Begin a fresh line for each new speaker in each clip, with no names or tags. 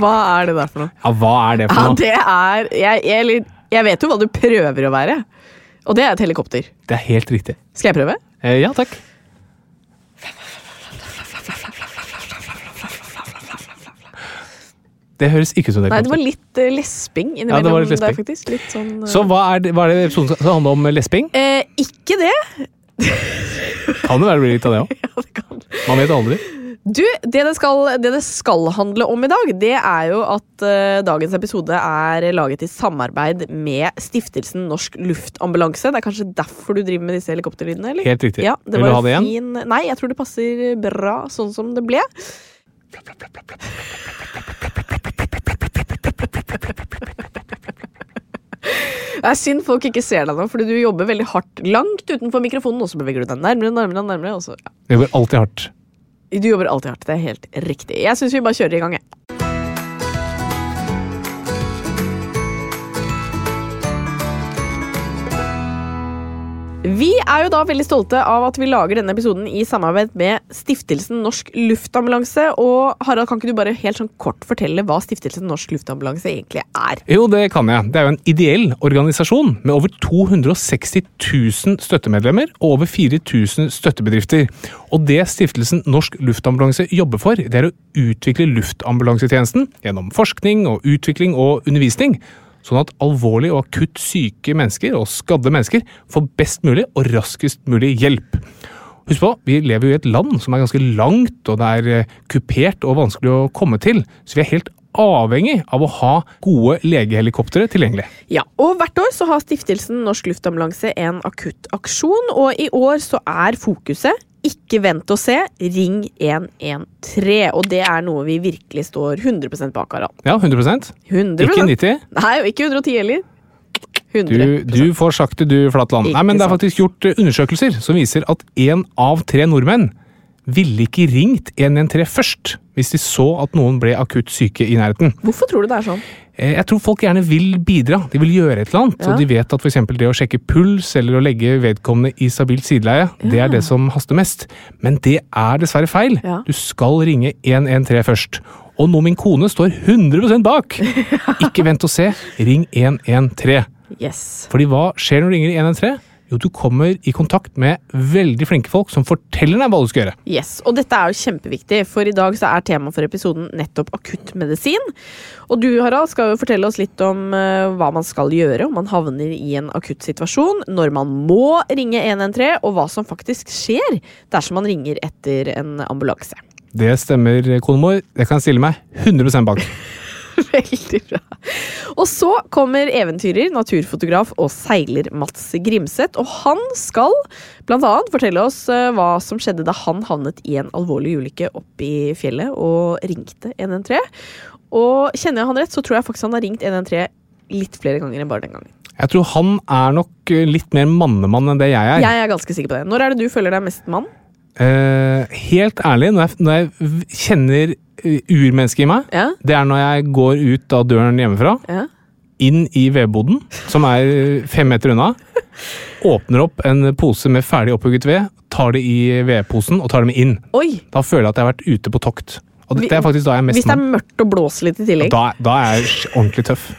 Hva er det der for noe?
Ja, hva er det
Ja,
for noe?
det er jeg, jeg, eller, jeg vet jo hva du prøver å være. Og det er et helikopter.
Det er helt riktig.
Skal jeg prøve?
Eh, Ja, takk. Det høres ikke ut som det.
Nei,
kan
det var litt eh, lesping
Ja, det var
innimellom
litt
der,
lesping.
faktisk. Litt sånn eh,
Så hva er det, hva er det episoden skal skal handle om? Lesping?
eh, Ikke det.
Kan det være det blir litt av det òg?
Ja, det kan.
Man vet aldri.
Du, det det, skal, det det skal handle om i dag, det er jo at eh, dagens episode er laget i samarbeid med stiftelsen Norsk Luftambulanse. Det er kanskje derfor du driver med disse helikopterlydene, eller?
Helt riktig.
Ja, det
Vil
var
du ha det igjen?
Fin... Nei, jeg tror det passer bra sånn som det ble. Det er synd folk ikke ser deg nå, fordi du jobber veldig hardt langt utenfor mikrofonen, og så beveger du deg nærmere og nærmere. og nærmere og så, ja.
Det går alltid hardt.
Du jobber alltid hardt. Det er helt riktig. Jeg syns vi bare kjører i gang, jeg. Vi er jo da veldig stolte av at vi lager denne episoden i samarbeid med Stiftelsen Norsk Luftambulanse. Og Harald, kan ikke du bare helt sånn kort fortelle hva Stiftelsen Norsk Luftambulanse egentlig er?
Jo, det kan jeg. Det er jo en ideell organisasjon med over 260 000 støttemedlemmer og over 4000 støttebedrifter. Og det stiftelsen Norsk Luftambulanse jobber for, det er å utvikle luftambulansetjenesten gjennom forskning og utvikling og undervisning. Sånn at alvorlig og akutt syke mennesker og skadde mennesker får best mulig og raskest mulig hjelp. Husk på, vi lever jo i et land som er ganske langt, og det er eh, kupert og vanskelig å komme til. Så vi er helt avhengig av å ha gode legehelikoptre tilgjengelig.
Ja, og Hvert år så har stiftelsen Norsk Luftambulanse en akuttaksjon, og i år så er fokuset ikke vent og se, ring 113. Og det er noe vi virkelig står 100 bak, Harald.
Ja, 100
100
Ikke 90.
Nei, og ikke 110 heller.
Du,
100
du får sakte, du, Flatland.
Ikke
Nei, men det er
sant.
faktisk gjort eh, undersøkelser som viser at én av tre nordmenn ville ikke ringt 113 først hvis de så at noen ble akutt syke i nærheten.
Hvorfor tror du det er sånn?
Eh, Jeg tror folk gjerne vil bidra. De vil gjøre et eller annet.
Ja.
Og de vet at f.eks. det å sjekke puls eller å legge vedkommende i stabilt sideleie, det er det som haster mest. Men det er dessverre feil.
Ja.
Du skal ringe 113 først. Og nå min kone står 100 bak! Ikke vent og se. Ring 113.
Yes.
Fordi hva skjer når du ringer 113? Jo, du kommer i kontakt med veldig flinke folk som forteller deg hva du skal gjøre.
Yes, og dette er jo kjempeviktig, for i dag så er tema for episoden nettopp akuttmedisin. Og du, Harald, skal jo fortelle oss litt om eh, hva man skal gjøre om man havner i en akutt situasjon, når man må ringe 113, og hva som faktisk skjer dersom man ringer etter en ambulanse.
Det stemmer, kone mor. Det kan jeg stille meg 100 bak.
Veldig bra. Og så kommer eventyrer, naturfotograf og seiler Mats Grimseth. Og han skal bl.a. fortelle oss eh, hva som skjedde da han havnet i en alvorlig ulykke oppe i fjellet og ringte 113. Og kjenner jeg han rett, så tror jeg faktisk han har ringt 113 litt flere ganger enn bare den gangen.
Jeg tror han er nok eh, litt mer mannemann enn det jeg er.
Jeg er ganske sikker på det. Når er det du føler deg mest mann?
Eh, helt ærlig, når jeg, når jeg v- kjenner eh, urmennesket i meg,
Ja?
det er når jeg går ut av døren hjemmefra,
ja.
inn i vedboden, som er eh, fem meter unna, åpner opp en pose med ferdig opphugget ved, tar det i vedposen og tar det med inn.
Oi!
Da føler jeg at jeg har vært ute på tokt. Og
Vi-
det er faktisk da jeg er
Hvis
mest
det er
mann.
mørkt og blåser litt i tillegg.
Da, da er jeg ordentlig tøff.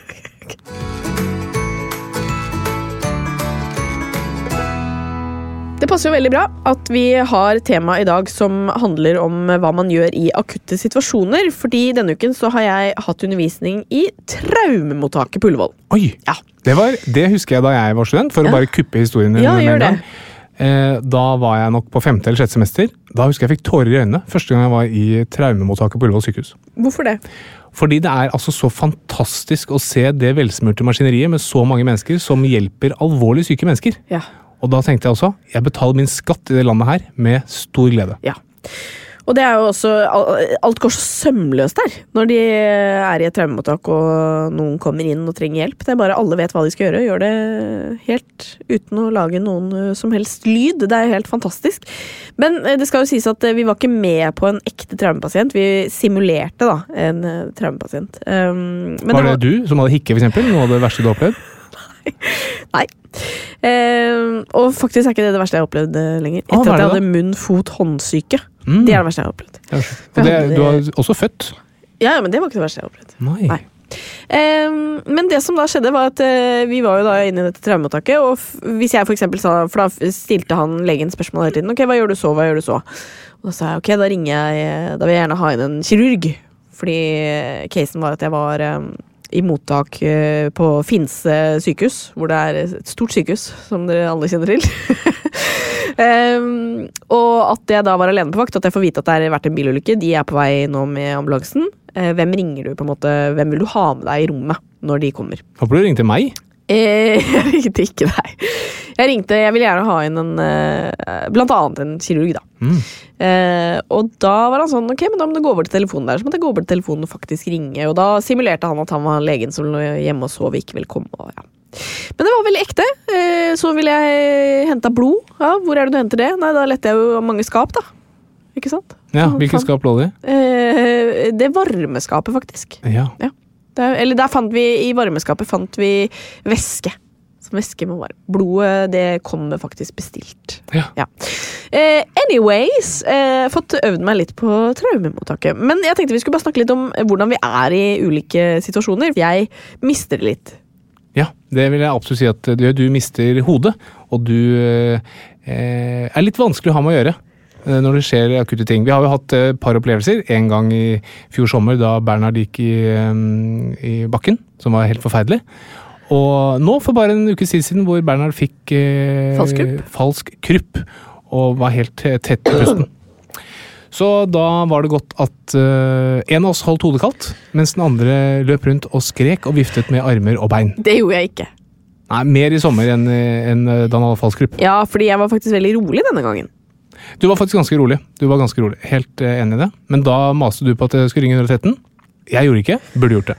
Det passer jo veldig bra at vi har tema i dag som handler om hva man gjør i akutte situasjoner. fordi denne uken så har jeg hatt undervisning i traumemottaket på Ullevål.
Oi!
Ja.
Det, var, det husker jeg da jeg var student, for å bare kuppe historien
Ja,
med
gjør
en gang. Eh, Da var jeg nok på femte eller sjette semester. Da husker jeg jeg fikk tårer i øynene første gang jeg var i traumemottaket på Ullevål sykehus.
Hvorfor det?
Fordi det er altså så fantastisk å se det velsmurte maskineriet med så mange mennesker som hjelper alvorlig syke mennesker.
Ja.
Og da tenkte jeg også jeg betaler min skatt i det landet her med stor glede.
ja. Og det er jo også al- Alt går så sømløst der når de er i et traumemottak og noen kommer inn og trenger hjelp. Det er bare alle vet hva de skal gjøre. Gjør det helt uten å lage noen eh, som helst lyd. Det er helt fantastisk. Men eh, det skal jo sies at eh, vi var ikke med på en ekte traumepasient. Vi simulerte da en eh, traumepasient. Um, men
var det du som hadde hikke, for eksempel? Noe av det verste du har opplevd?
Nei. Eh, og faktisk er ikke det det verste jeg har opplevd eh, lenger.
Å,
Etter
hva
at
er
jeg
det
hadde munn-fot-håndsyke.
Mm.
Det er det verste jeg har opplevd.
Ja, Og det, du har også født.
Ja, ja, men det var ikke det verste jeg har opplevd.
Nei.
Nei. Ehm, men det som da skjedde, var at eh, vi var jo da inne i dette traumemottaket. Og f hvis jeg for eksempel sa For da f- stilte han legen spørsmål hele tiden. Ok, hva gjør du så, hva gjør du så? Og da sa jeg ok, da ringer jeg eh, Da vil jeg gjerne ha inn en kirurg. Fordi eh, casen var at jeg var eh, i mottak eh, på Finse sykehus, hvor det er et stort sykehus, som dere alle kjenner til. Ehm, og at jeg da var alene på vakt, at jeg får vite at det har vært en bilulykke. De er på vei nå med ambulansen. Eh, hvem ringer du, på en måte? Hvem vil du ha med deg i rommet når de kommer?
Håper du ringte meg.
Eh, jeg ringte ikke deg. Jeg ringte, jeg ville gjerne ha inn en eh, Blant annet en kirurg, da.
Mm.
Eh, og da var han sånn ok, men da må du gå over til telefonen der. Så måtte jeg gå over til telefonen og faktisk ringe. Og da simulerte han at han var legen som lå hjemme og sov og ikke ville komme. Og ja. Men det var veldig ekte. Eh, så ville jeg henta blod. Ja, hvor er det du henter det? Nei, da lette jeg jo mange skap, da. Ikke sant?
Ja,
Å,
Hvilket
faen.
skap lå det i?
Eh, det varmeskapet, faktisk.
Ja.
Der, eller der fant vi, i varmeskapet fant vi væske. Som væske må være. Blodet, det kommer faktisk bestilt.
Ja.
Eh, anyways, eh, fått øvd meg litt på traumemottaket. Men jeg tenkte vi skulle bare snakke litt om hvordan vi er i ulike situasjoner. Jeg mister det litt.
ja. Det vil jeg absolutt si at eh, du, gjør. du mister hodet, og du eh, eh, er litt vanskelig å ha med å gjøre. eh, Når det skjer akutte ting. Vi har jo hatt eh, et par opplevelser. En gang i fjor sommer da Bernhard gikk i, eh, i bakken, som var helt forferdelig. Og nå for bare en ukes tid siden hvor Bernhard fikk eh,
Falsk krupp.
falsk krupp. Og var helt eh, tett i pusten. Så da var det godt at eh, en av oss holdt hodet kaldt, mens den andre løp rundt og skrek og viftet med armer og bein.
Det gjorde jeg ikke.
Nei, Mer i sommer enn eh, en da han hadde fallskrupp.
Ja, fordi jeg var faktisk veldig rolig denne gangen.
Du var faktisk ganske rolig. Du var ganske rolig. Helt eh, enig i det. Men da maste du på at jeg skulle ringe 113. Jeg gjorde ikke. Burde gjort det.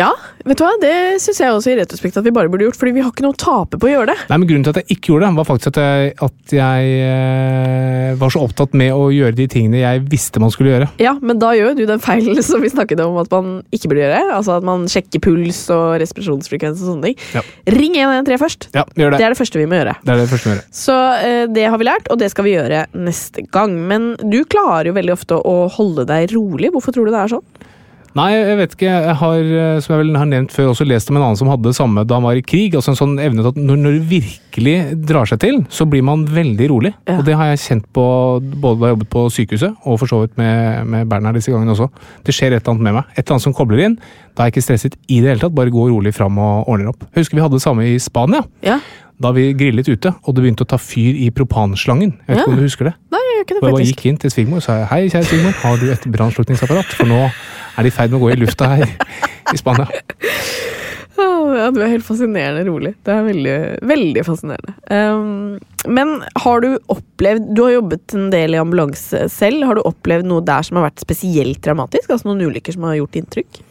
Ja, vet du hva? Det syns jeg også i retrospekt at vi bare burde gjort, fordi vi har ikke noe å tape på å gjøre det.
Nei, men Grunnen til at jeg ikke gjorde det, var faktisk at jeg, at jeg eh, var så opptatt med å gjøre de tingene jeg visste man skulle gjøre.
Ja, men da gjør jo du den feilen som vi snakket om at man ikke burde gjøre. Altså at man sjekker puls og respirasjonsfrekvens og sånne ting.
Ja.
Ring 113 først.
Ja, vi gjør
Det
det.
er det første vi må gjøre.
Det er det første vi gjør.
Så eh, det har vi lært, og det skal vi gjøre neste gang. Men du klarer jo veldig ofte å holde deg rolig. Hvorfor tror du det er sånn?
Nei, jeg vet ikke. Jeg har, eh, som jeg vel har nevnt før, også lest om en annen som hadde det samme da han var i krig. Altså en sånn evne til at når, når det virkelig drar seg til, så blir man veldig rolig.
Ja.
Og det har jeg kjent på både da jeg jobbet på sykehuset, og for så vidt med, med Bernhard disse gangene også. Det skjer et eller annet med meg. Et eller annet som kobler inn. Da er jeg ikke stresset i det hele tatt. Bare går rolig fram og ordner opp. Jeg husker vi hadde det samme i Spania.
Ja,
Da vi grillet ute, og det begynte å ta fyr i propanslangen. Jeg vet ikke
Ja.
om du husker det?
Nei, jeg gjør ikke det
Og jeg bare
faktisk.
gikk inn til svigermor og sa hei, kjære svigermor, har du et brannslukningsapparat? For nå er de i ferd med å gå i lufta her i Spania.
Åh, Ja, du er helt fascinerende rolig. Det er veldig, veldig fascinerende. Ehm, men har du opplevd Du har jobbet en del i ambulanse selv. Har du opplevd noe der som har vært spesielt dramatisk? Altså noen ulykker som har gjort inntrykk?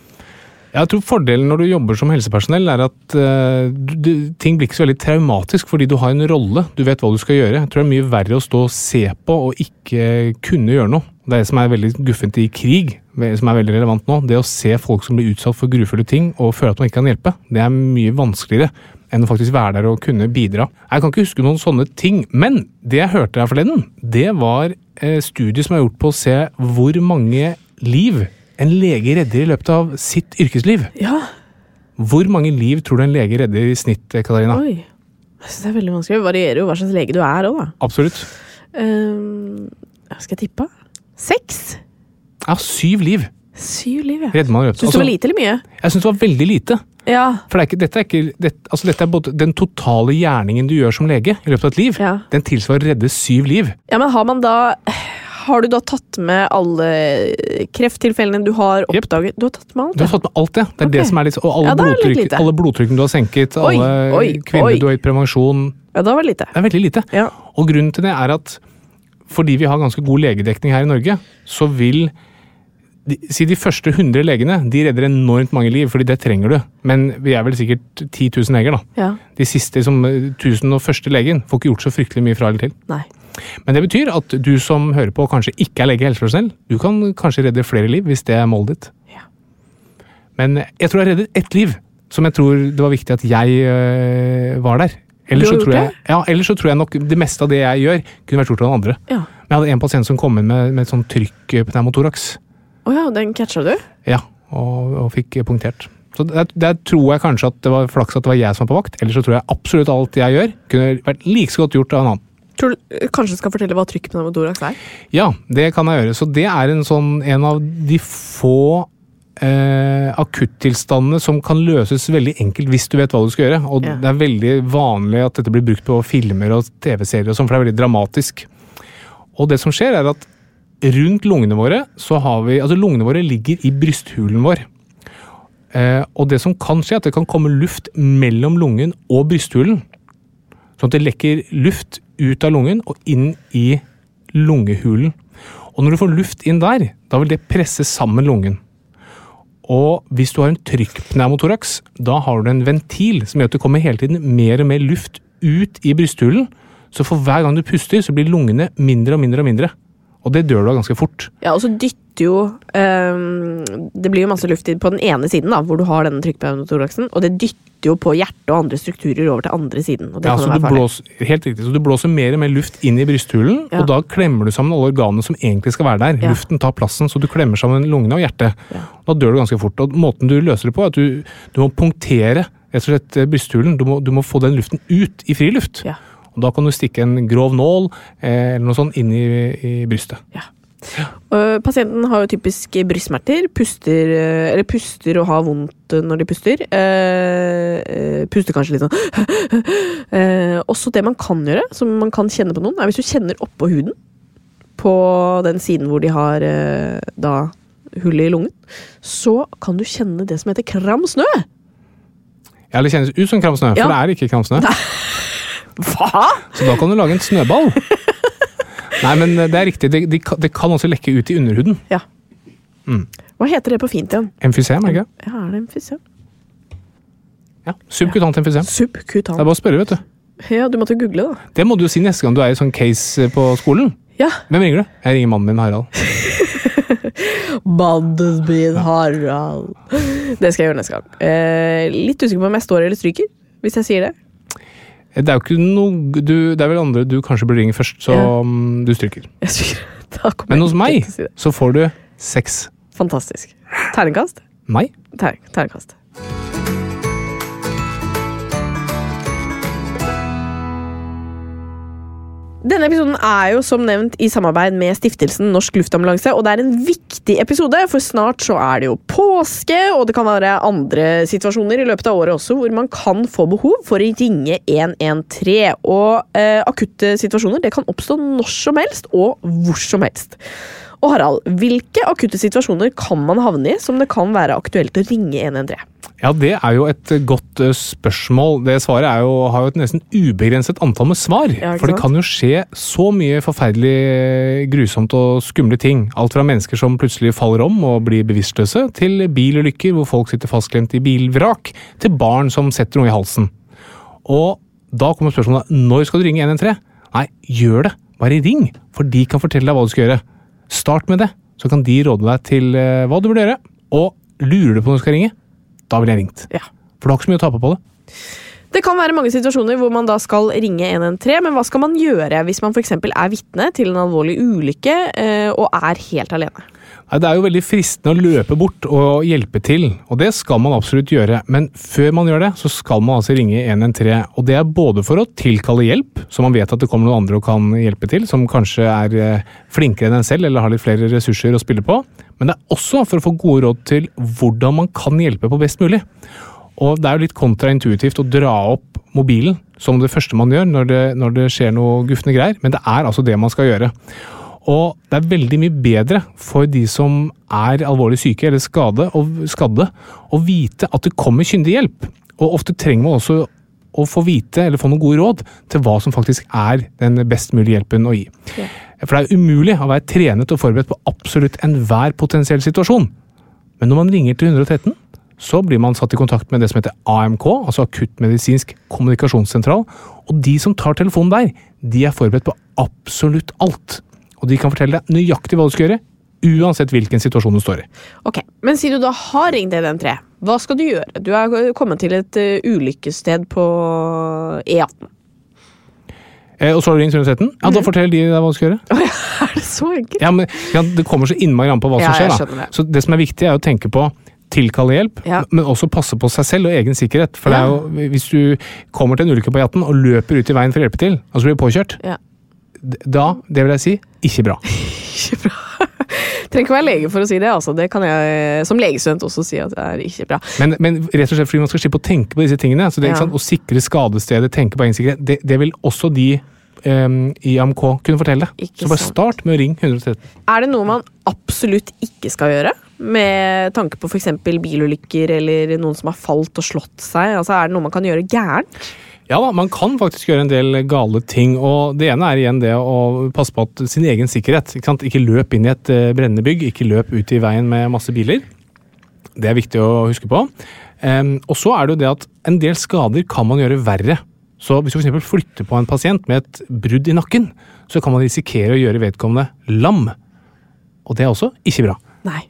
Jeg tror fordelen når du jobber som helsepersonell, er at eh, du, du, ting blir ikke så veldig traumatisk fordi du har en rolle. Du vet hva du skal gjøre. Jeg tror det er mye verre å stå og se på og ikke kunne gjøre noe. Det er det som er veldig guffent i krig, ve- som er veldig relevant nå. Det å se folk som blir utsatt for grufulle ting og føle at man ikke kan hjelpe, det er mye vanskeligere enn å faktisk være der og kunne bidra. Jeg kan ikke huske noen sånne ting, men det jeg hørte her forleden, det var eh, studier som er gjort på å se hvor mange liv en lege redder i løpet av sitt yrkesliv.
Ja,
Hvor mange liv tror du en lege redder i snitt, eh, Katarina?
oi. Jeg synes det er veldig vanskelig. Det varierer jo hva slags lege du er òg, da.
Absolutt.
Ehm, skal jeg tippe? Seks?
Ja, syv liv
Syv liv, ja.
redder man i løpet
Syns du det var
altså,
lite eller mye?
Jeg syns det var veldig lite.
Ja.
For det er ikke, dette er ikke dette, altså dette er både den totale gjerningen du gjør som lege i løpet av et liv.
ja.
Den tilsvarer å redde syv liv.
Ja, men har man da Har du da tatt med alle krefttilfellene du har
Jep.
oppdaget? Du har tatt med alt?
Du har fått med alt det. Det er det
Ok.
som er litt, og alle,
Ja, det er litt
blodtrykk,
lite.
alle blodtrykkene du har senket,
Oi,
alle
oi,
kvinner
oi.
du har gitt prevensjon.
ja. ja, da var det lite.
Det er veldig lite.
Ja.
Og grunnen til det er at fordi vi har ganske god legedekning her i Norge, så vil de, Si de første 100 legene de redder enormt mange liv, fordi det trenger du. Men vi er vel sikkert 10 000 leger, da.
ja.
De siste som eh, 1001. legen får ikke gjort så fryktelig mye fra eller til.
Nei.
Men det betyr at du som hører på og kanskje ikke er lege og helsepersonell, du kan kanskje redde flere liv hvis det er målet ditt.
Ja.
Men jeg tror jeg reddet ett liv, som jeg tror det var viktig at jeg øh, var der. Ellers
Du har
så, tror
gjort
jeg, ja, ellers så tror jeg nok det meste av det jeg gjør, kunne vært gjort av den andre.
Ja.
Men jeg hadde en pasient som kom inn med, med et sånt trykk øh, pneumotoraks.
Å Å ja, den catcha du?
Ja, og, og fikk øh, punktert. Så der, der tror jeg kanskje at det var flaks at det var jeg som var på vakt. Ellers så tror jeg absolutt alt jeg gjør, kunne vært like så godt gjort av en annen.
Tror du eh, Kanskje du skal fortelle hva trykkpneumotorax er?
Ja, det kan jeg gjøre. Så det er en, sånn, en av de få eh, akuttilstandene som kan løses veldig enkelt hvis du vet hva du skal gjøre. Og
Ja.
det er veldig vanlig at dette blir brukt på filmer og TV-serier, og sånn, for det er veldig dramatisk. Og det som skjer, er at rundt lungene våre så har vi Altså, lungene våre ligger i brysthulen vår. Eh, og det som kan skje, er at det kan komme luft mellom lungen og brysthulen. Sånn at det lekker luft ut av lungen og inn i lungehulen. Og når du får luft inn der, da vil det presse sammen lungen. Og hvis du har en trykkpneumotoraks, da har du en ventil som gjør at det kommer hele tiden mer og mer luft ut i brysthulen. Så for hver gang du puster, så blir lungene mindre og mindre og mindre. Og det dør du av ganske fort.
Ja, og så dytter jo ehm, Det blir jo masse luft i- på den ene siden, da, hvor du har denne trykkpneumotoraksen, og det dytter jo på hjertet og andre strukturer over til andre siden. Og det
Ja,
kan
så
jo
du,
være farlig.
blåser, helt riktig, så du blåser mer og mer luft inn i brysthulen,
Ja.
og da klemmer du sammen alle organene som egentlig skal være der.
Ja.
Luften tar plassen, så du klemmer sammen lungene og hjertet.
Ja.
Da dør du ganske fort. Og måten du løser det på, er at du, du må punktere rett og slett eh, brysthulen. Du må, du må få den luften ut i friluft.
Ja.
Og da kan du stikke en grov nål eh, eller noe sånt inn i, i brystet.
Øh, Pasienten har jo typisk brystsmerter, puster, øh, eller puster og har vondt øh, når de puster. Eh, eh, puster kanskje litt sånn Eh, Også det man kan gjøre, som man kan kjenne på noen, er hvis du kjenner oppå huden, på den siden hvor de har eh, da hullet i lungen, så kan du kjenne det som heter kram snø.
Ja, det kjennes ut som kramsnø,
Ja.
for det er ikke kramsnø.
Hva?!
Så da kan du lage en snøball. Nei, men eh, det er riktig. Det, de, ka- det kan også lekke ut i underhuden.
Ja.
Mm.
Hva heter det på fint igjen?
Emfysem, er det ikke det?
Ja, er det emfysem?
Ja. Subkutant emfysem. Det
Subkutan.
er bare å spørre, vet du.
Ja, du måtte google, da.
Det må du jo si neste gang du er i sånn case eh, på skolen.
Ja.
Hvem ringer du? Jeg ringer mannen min, Harald.
Bandesbyen Harald. Det skal jeg gjøre neste gang. Eh, litt usikker på om jeg står eller stryker, hvis jeg sier det.
Eh, Det er jo ikke noe du, Det er vel andre du kanskje burde ringe først, så
Ja.
mm, du stryker.
Jeg stryker. Da kommer
Men
jeg
hos
ikke
meg
til å si det.
så får du seks.
Fantastisk. Terningkast?
Meg?
Ter terningkast. Denne episoden er jo som nevnt i samarbeid med stiftelsen Norsk Luftambulanse, og det er en viktig episode, for snart så er det jo påske, og det kan være andre situasjoner i løpet av året også, hvor man kan få behov for å ringe 113. Og eh, akutte situasjoner det kan oppstå når som helst og hvor som helst. Og Harald, hvilke akutte situasjoner kan man havne i som det kan være aktuelt å ringe 113?
Ja, det er jo et eh, godt eh, spørsmål. Det svaret er jo, har jo et nesten ubegrenset antall med svar.
Ja, ikke
for det
sant?
kan jo skje så mye forferdelig eh, grusomt og skumle ting. Alt fra mennesker som plutselig faller om og blir bevisstløse, til bilulykker hvor folk sitter fastklemt i bilvrak, til barn som setter noe i halsen. Og da kommer spørsmålet når skal du ringe 113? Nei, gjør det. Bare ring, for de kan fortelle deg hva du skal gjøre. Start med det, så kan de råde deg til eh, hva du burde gjøre. Og lurer du på når du skal ringe, da ville jeg ringt.
Ja.
For du har ikke så mye å tape på det.
Det kan være mange situasjoner hvor man da skal ringe 113, men hva skal man gjøre hvis man f.eks. er vitne til en alvorlig ulykke eh, og er helt alene?
Nei, Det er jo veldig fristende å løpe bort og hjelpe til, og det skal man absolutt gjøre. Men før man gjør det, så skal man altså ringe 113. Og det er både for å tilkalle hjelp, så man vet at det kommer noen andre og kan hjelpe til, som kanskje er eh, flinkere enn en selv eller har litt flere ressurser å spille på. Men det er også for å få gode råd til hvordan man kan hjelpe på best mulig. Og det er jo litt kontraintuitivt å dra opp mobilen som det første man gjør når det, når det skjer noe gufne greier, men det er altså det man skal gjøre. Og det er veldig mye bedre for de som er alvorlig syke eller skade og skadde, å vite at det kommer kyndig hjelp. Og ofte trenger man også å få vite eller få noen gode råd til hva som faktisk er den best mulige hjelpen å gi. For det er umulig å være trenet og forberedt på absolutt enhver potensiell situasjon. Men når man ringer til 113, så blir man satt i kontakt med det som heter AMK, altså akuttmedisinsk kommunikasjonssentral. Og de som tar telefonen der, de er forberedt på absolutt alt. Og de kan fortelle deg nøyaktig hva du skal gjøre, uansett hvilken situasjon du står i.
Ok, Men si du da har ringt 113, hva skal du gjøre? Du er kommet til et eh, ulykkessted på E18.
Eh, og så har du ringt 113. Ja, da fortell de deg hva du skal gjøre.
Er det så enkelt?
Ja, men ja, Det kommer så innmari an på hva
Ja,
som
jeg
skjer.
skjønner
da.
det.
Så det som er viktig, er å tenke på tilkalle hjelp,
Ja.
men også passe på seg selv og egen sikkerhet. For det er jo, hvis du kommer til en ulykke på E18 og løper ut i veien for å hjelpe til, og så blir du påkjørt,
Ja.
d- da, det vil jeg si, ikke bra.
Ikke bra. Trenger ikke være lege for å si det, altså. Det kan jeg som legestudent også si at det er ikke bra.
Men, men rett og slett fordi man skal slippe å tenke på disse tingene. Så det er
Ja.
ikke sant, Å sikre skadestedet, tenke på egen sikkerhet, det, det vil også de em, i AMK kunne fortelle. deg.
Ikke
Så bare
sant.
start med å ringe 113.
Er det noe man absolutt ikke skal gjøre? Med tanke på f.eks. bilulykker eller noen som har falt og slått seg? Altså, Er det noe man kan gjøre gærent?
Ja da, man kan faktisk gjøre en del gale ting. og Det ene er igjen det å passe på at sin egen sikkerhet. Ikke, sant? ikke løp inn i et eh, brennende bygg, ikke løp ut i veien med masse biler. Det er viktig å huske på. Em, og så er det jo det at en del skader kan man gjøre verre. Så hvis du f.eks. flytter på en pasient med et brudd i nakken, så kan man risikere å gjøre vedkommende lam. Og det er også ikke bra.
Nei.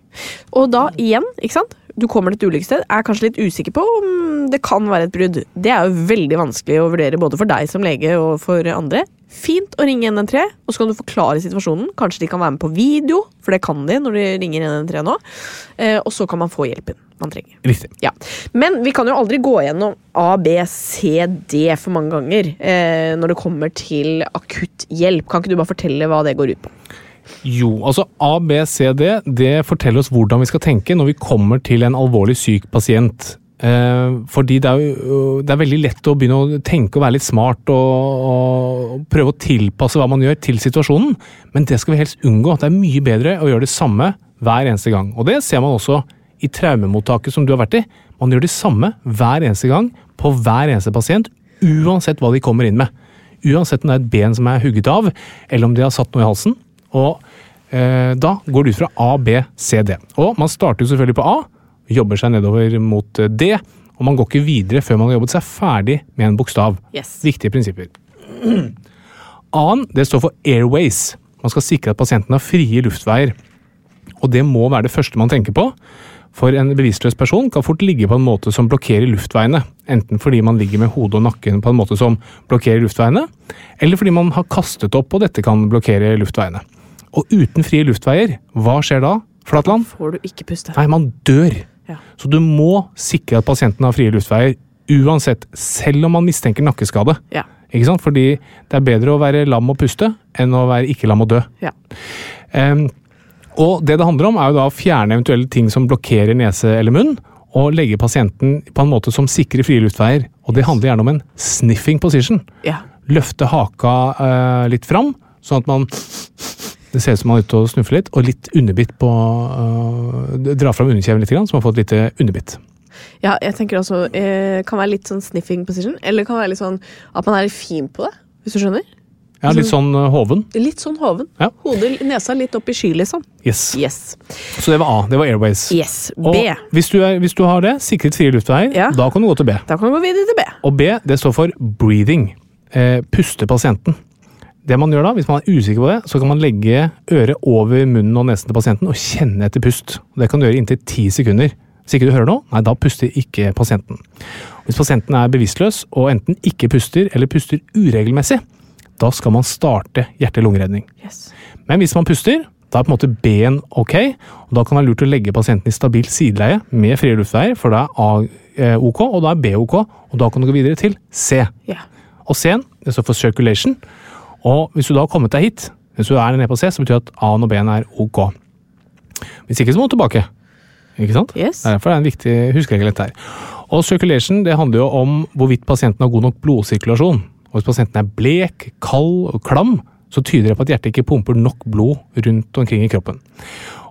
Og da igjen, ikke sant? Du kommer til et ulykkessted, er kanskje litt usikker på om det kan være et brudd. Det er jo veldig vanskelig å vurdere både for deg som lege og for andre. Fint å ringe 113, og så kan du forklare situasjonen. Kanskje de kan være med på video, for det kan de når de ringer 113 nå. Eh, og så kan man få hjelpen man trenger.
Riktig.
Ja. Men vi kan jo aldri gå gjennom A, B, C, D for mange ganger eh, når det kommer til akutt hjelp. Kan ikke du bare fortelle hva det går ut på?
Jo, altså A, B, C, D, det forteller oss hvordan vi skal tenke når vi kommer til en alvorlig syk pasient. Eh, fordi det er, jo, øh, det er veldig lett å begynne å tenke og være litt smart og, og prøve å tilpasse hva man gjør til situasjonen, men det skal vi helst unngå. Det er mye bedre å gjøre det samme hver eneste gang. Og det ser man også i traumemottaket som du har vært i. Man gjør det samme hver eneste gang på hver eneste pasient, uansett hva de kommer inn med. Uansett om det er et ben som er hugget av, eller om de har satt noe i halsen. Og eh, da går det ut fra A, B, C, D. Og man starter jo selvfølgelig på A, jobber seg nedover mot eh, D, og man går ikke videre før man har jobbet seg ferdig med en bokstav.
Yes.
Viktige prinsipper. A-en det står for airways. Man skal sikre at pasienten har frie luftveier. Og det må være det første man tenker på. For en bevisstløs person kan fort ligge på en måte som blokkerer luftveiene. Enten fordi man ligger med hodet og nakken på en måte som blokkerer luftveiene, eller fordi man har kastet opp og dette kan blokkere luftveiene. Og uten frie luftveier, hva skjer da? Flatland?
Får du ikke puste.
Nei, man dør.
Ja.
Så du må sikre at pasienten har frie luftveier uansett, selv om man mistenker nakkeskade.
Ja.
Ikke sant? Fordi det er bedre å være lam og puste enn å være ikke lam og dø.
Ja.
Em, og det det handler om, er jo da å fjerne eventuelle ting som blokkerer nese eller munn, og legge pasienten på en måte som sikrer frie luftveier. Og det handler gjerne om en sniffing position.
ja.
Løfte haka eh, litt fram, sånn at man Det ser ut som man er ute og snuffer litt, og litt underbitt på eh, Dra fram underkjeven litt, grann, så man får et lite underbitt.
Ja, jeg tenker også eh, kan være litt sånn sniffing position, eller kan være litt sånn at man er litt fin på det, hvis du skjønner?
Ja, litt sånn eh, hoven.
Litt sånn hoven.
Ja.
Hodet, nesa litt opp i sky, liksom.
Yes.
Yes.
Så det var A. Det var Airways.
Yes.
Og
B.
hvis du, er, hvis du har det, sikret frie luftveier,
Ja.
da kan du gå til B.
Da kan vi gå videre til B.
Og B det står for breathing. Eh, puste pasienten. Det man gjør da, Hvis man er usikker på det, så kan man legge øret over munnen og nesen til pasienten og kjenne etter pust. Det kan du gjøre inntil ti sekunder. Hvis ikke du hører noe, nei, da puster ikke pasienten. Hvis pasienten er bevisstløs og enten ikke puster eller puster uregelmessig, da skal man starte hjerte-lungeredning.
Yes.
Men hvis man puster, da er på en måte B-en ok, og da kan det være lurt å legge pasienten i stabilt sideleie med frie luftveier, for da er A eh, ok, og da er B ok, og da kan du gå videre til C.
Ja.
Og C-en, det står for circulation, og hvis du da har kommet deg hit, hvis du er nede på C, så betyr det at A-en og B-en er ok. Hvis ikke, så må du tilbake. Ikke sant?
Yes.
Det er Derfor det er en viktig huskeregel dette her. Og circulation det handler jo om hvorvidt pasienten har god nok blodsirkulasjon. Og Hvis pasienten er blek, kald og klam, så tyder det på at hjertet ikke pumper nok blod rundt omkring i kroppen.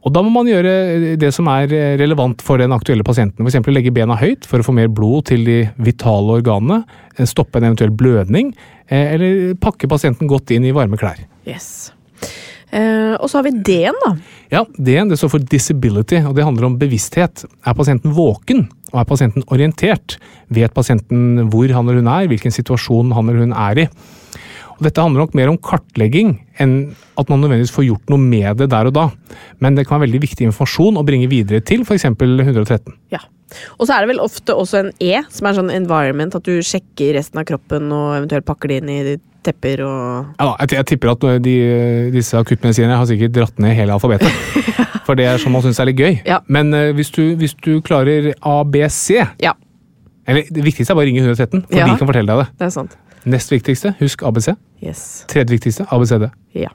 Og Da må man gjøre det som er relevant for den aktuelle pasienten. F.eks. legge bena høyt for å få mer blod til de vitale organene, stoppe en eventuell blødning, eh, eller pakke pasienten godt inn i varme klær.
Yes. Eh, og så har vi D-en, da.
Ja, D-en det står for disability, og det handler om bevissthet. Er pasienten våken? Og er pasienten orientert? Vet pasienten hvor han eller hun er, hvilken situasjon han eller hun er i? Og dette handler nok mer om kartlegging enn at man nødvendigvis får gjort noe med det der og da. Men det kan være veldig viktig informasjon å bringe videre til f.eks. 113.
Ja. Og så er det vel ofte også en E, som er sånn environment, at du sjekker resten av kroppen og eventuelt pakker det inn i tepper og
Ja, da, jeg, jeg tipper at eh, de, disse akuttmedisinerne har sikkert dratt ned hele alfabetet. For det er sånn man syns er litt gøy.
Ja.
Men eh, hvis, du, hvis du klarer ABC
Ja,
Eller det viktigste er bare å ringe 113, for
Ja.
de kan fortelle deg det.
det er sant.
Nest viktigste, husk ABC.
Yes.
Tredje viktigste, ABCD.
Ja.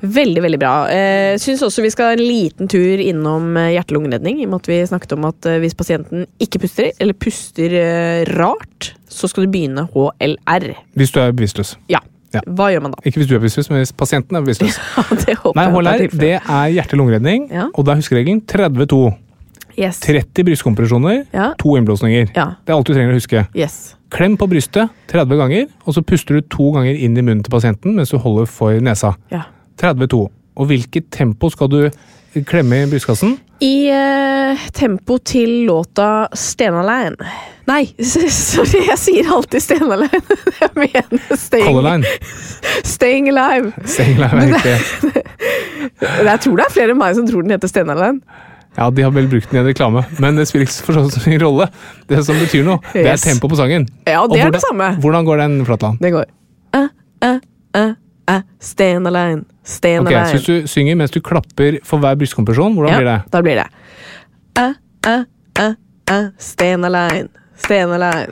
Veldig, veldig bra. Eh, Syns også vi skal ha en liten tur innom eh, hjerte-lungeredning. I og med at vi snakket om at eh, hvis pasienten ikke puster, eller puster eh, rart, så skal du begynne HLR.
Hvis du er bevisstløs.
Ja.
Ja.
Hva gjør man da?
Ikke hvis du er bevisstløs, men hvis pasienten er bevisstløs.
det håper
Nei,
jeg at
HLR
er tilfellet.
det er hjerte-lungeredning,
Ja.
og da er huskeregelen 32.
Yes.
30 brystkompresjoner,
Ja.
to innblåsninger.
Ja.
Det er alt du trenger å huske.
Yes.
Klem på brystet 30 ganger, og så puster du to ganger inn i munnen til pasienten mens du holder for nesa.
Ja.
32. Og hvilket tempo skal du klemme i brystkassen?
I eh, tempo til låta Stenaline Nei, sorry, jeg sier alltid Stenaline. Jeg mener
Color
Staying,
line.
staying Alive.
Sengel er riktig.
Jeg tror det er flere enn meg som tror den heter Stenaline.
Ja, de har vel brukt den i en reklame, men det spiller ikke for så vidt ingen rolle. Det som betyr noe, det er
Yes.
tempo på sangen.
Ja,
Og
det er
hvordan-
det samme.
Hvordan går den, Flatland?
Det går Æ, æ, æ, æ, Stand alone, stand
Ok, så
alone.
Hvis du synger mens du klapper for hver brystkompresjon, hvordan blir det?
Da blir det Æ, æ, æ, æ, Stand alone, stand alone.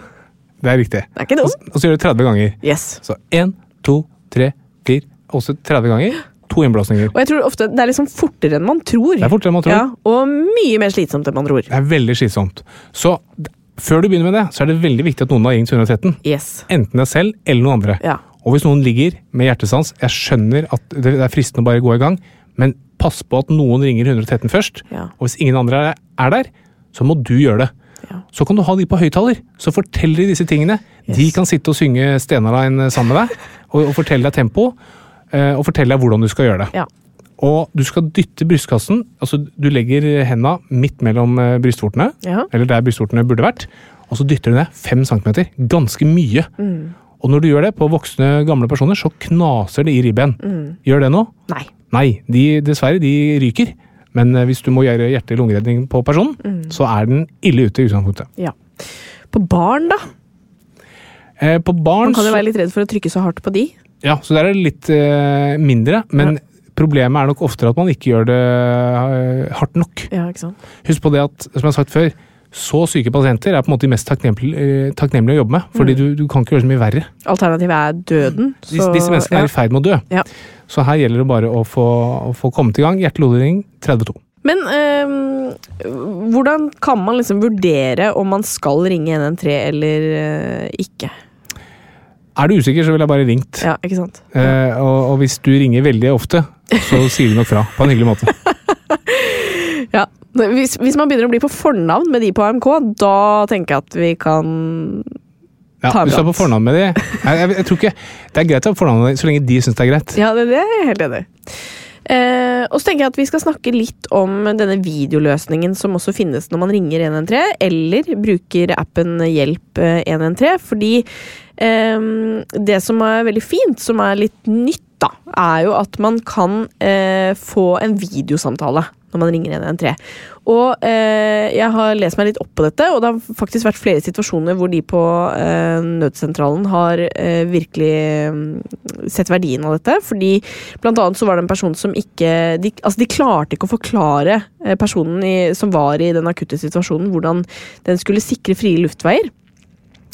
Det er riktig.
Det er ikke dumt.
Og så gjør du 30 ganger.
Yes.
Så 1, 2, 3, 4, også 30 ganger. To innblåsninger.
Og jeg tror ofte det er liksom fortere enn man tror.
Det er fortere enn man tror.
Ja, og mye mer slitsomt enn man tror.
Det er veldig slitsomt. Så d- før du begynner med det, så er det veldig viktig at noen har ringt 113.
Yes.
Enten deg selv eller noen andre.
Ja.
Og hvis noen ligger med hjertesans, jeg skjønner at det det er fristende å bare gå i gang, men pass på at noen ringer 113 først.
Ja.
Og hvis ingen andre er- er der, så må du gjøre det.
Ja.
Så kan du ha de på høyttaler, så forteller de disse tingene. De kan sitte og synge Stenaline sammen med deg, og, og fortelle deg tempo, eh, og fortelle deg hvordan du skal gjøre det.
ja.
Og du skal dytte brystkassen, altså du legger henda midt mellom eh, brystvortene,
Ja.
eller der brystvortene burde vært, og så dytter du ned fem centimeter. Ganske mye.
Mm.
Og når du gjør det på voksne, gamle personer, så knaser det i ribben.
Mm.
Gjør det nå?
Nei.
Nei, de, dessverre, de ryker. Men eh, hvis du må gjøre hjerte-lungeredning på personen,
Mm.
så er den ille ute i utgangspunktet.
Ja. På barn, da?
Eh, på barn
Man kan jo
så-
være litt redd for å trykke så hardt på de.
Ja, så der er det litt eh, mindre, men problemet er nok oftere at man ikke gjør det eh, hardt nok.
Ja, ikke sant?
Husk på det at, som jeg har sagt før, så syke pasienter er på en måte de mest takknemlige, eh, takknemlige å jobbe med.
Mm.
Fordi du, du kan ikke gjøre så mye verre.
Alternativet er døden.
Disse, disse menneskene
ja.
er i ferd med å dø.
Ja.
Så her gjelder det bare å få, å få kommet i gang. Hjerte-lodering 32.
Men øhm, hvordan kan man liksom vurdere om man skal ringe 113 eller øh, ikke?
Er du usikker, så ville jeg bare ringt.
Ja, ikke sant?
Eh, og, og hvis du ringer veldig ofte, så sier du nok fra. På en hyggelig måte.
Ja. Hvis, hvis man begynner å bli på fornavn med de på AMK, da tenker jeg at vi kan
Ja,
Ta
hvis du er på
iblant.
fornavn med de jeg, jeg, jeg tror ikke, Det er greit å ha fornavn med de, så lenge de syns det er greit.
Ja, det, det er jeg helt enig i. Eh, og så tenker jeg at Vi skal snakke litt om denne videoløsningen som også finnes når man ringer 113 eller bruker appen Hjelp eh, 113. Fordi ehm, det som er veldig fint, som er litt nytt, da, er jo at man kan eh, få en videosamtale når man ringer 113. Og eh, jeg har lest meg litt opp på dette, og det har faktisk vært flere situasjoner hvor de på eh, nødsentralen har eh, virkelig mm, sett verdien av dette. Fordi blant annet så var det en person som ikke De, altså de klarte ikke å forklare eh, personen i, som var i den akutte situasjonen, hvordan den skulle sikre frie luftveier.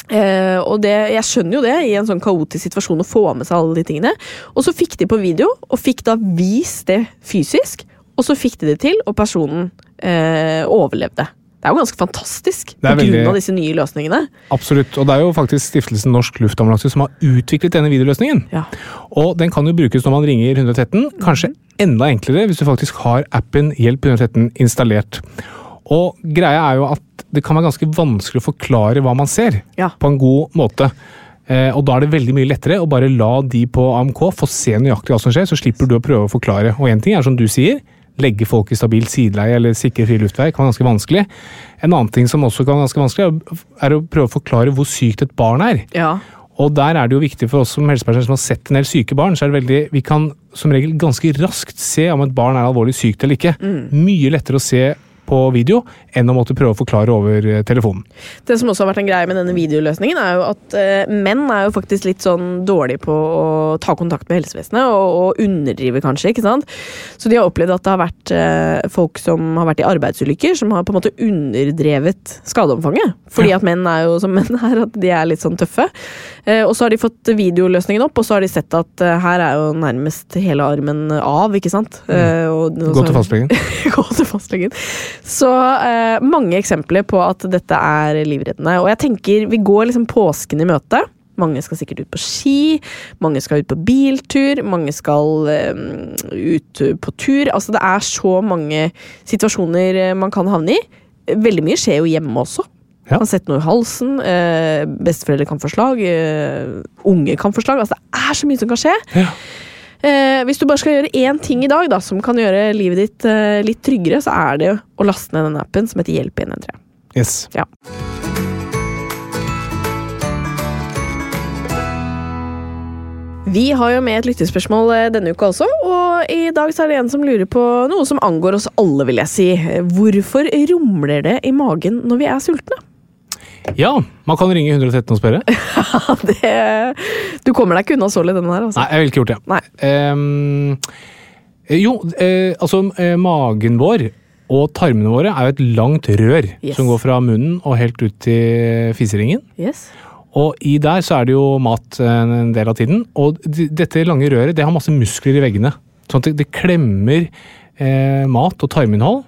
Eh, og det, jeg skjønner jo det, i en sånn kaotisk situasjon å få med seg alle de tingene. Og så fikk de på video, og fikk da vist det fysisk. Og så fikk de det til, og personen eh, overlevde. Det er jo ganske fantastisk
er
pga.
veldig-
av disse nye løsningene.
Absolutt. Og det er jo faktisk Stiftelsen Norsk Luftambulanse som har utviklet denne videoløsningen.
Ja.
Og den kan jo brukes når man ringer 113. Kanskje enda enklere hvis du faktisk har appen Hjelp 113 installert. Og greia er jo at det kan være ganske vanskelig å forklare hva man ser,
Ja.
på en god måte. Eh, og da er det veldig mye lettere å bare la de på AMK få se nøyaktig hva som skjer, så slipper du å prøve å forklare. Og én ting er som du sier, legge folk i stabilt sideleie eller sikre fri luftvei kan være ganske vanskelig. En annen ting som også kan være ganske vanskelig, er- er å prøve å forklare hvor sykt et barn er.
Ja.
Og der er det jo viktig for oss som helsepersonell som har sett en del syke barn, så er det veldig, vi
Mm.
kan som regel ganske raskt se om et barn er alvorlig sykt eller ikke. Mye lettere å se på video enn å måtte prøve å forklare over eh, telefonen.
Det som også har vært en greie med denne videoløsningen, er jo at eh, menn er jo faktisk litt sånn dårlige på å ta kontakt med helsevesenet, og, og underdrive kanskje, ikke sant? Så de har opplevd at det har vært eh, folk som har vært i arbeidsulykker, som har på en måte underdrevet skadeomfanget. Fordi at menn er jo som menn er, at de er litt sånn tøffe. Eh, og så har de fått videoløsningen opp, og så har de sett at eh, her er jo nærmest hele armen av, ikke sant? Eh, og, og
Mm. Gå
så-
til fastlegen.
gå til fastlegen. Så eh, mange eksempler på at dette er livreddende. Og jeg tenker vi går liksom påsken i møte. Mange skal sikkert ut på ski, mange skal ut på biltur, mange skal eh, ut på tur. Altså det er så mange situasjoner eh, man kan havne i. Veldig mye skjer jo hjemme også.
Ja.
Man setter noe i halsen, eh, besteforeldre kan få slag, eh, unge kan få slag. Altså det er så mye som kan skje.
Ja.
Eh, hvis du bare skal gjøre én ting i dag da, som kan gjøre livet ditt eh, litt tryggere, så er det å laste ned den appen som heter Hjelp 113.
Yes.
Ja. Vi har jo med et lyttespørsmål eh, denne uka også, og i dag så er det en som lurer på noe som angår oss alle, vil jeg si. Eh, Hvorfor rumler det i magen når vi er sultne?
ja, man kan ringe 113 og spørre.
Ja, det, du kommer deg ikke unna sålig denne her, altså.
Nei, jeg ville ikke gjort det.
Nei.
Ehm, eh, jo, eh, altså eh, magen vår og tarmene våre er jo et langt rør
Yes.
som går fra munnen og helt ut til fiseringen.
Yes.
Og i der så er det jo mat eh, en del av tiden. Og d- dette lange røret det har masse muskler i veggene. Sånn at det, det klemmer eh, mat og tarminnhold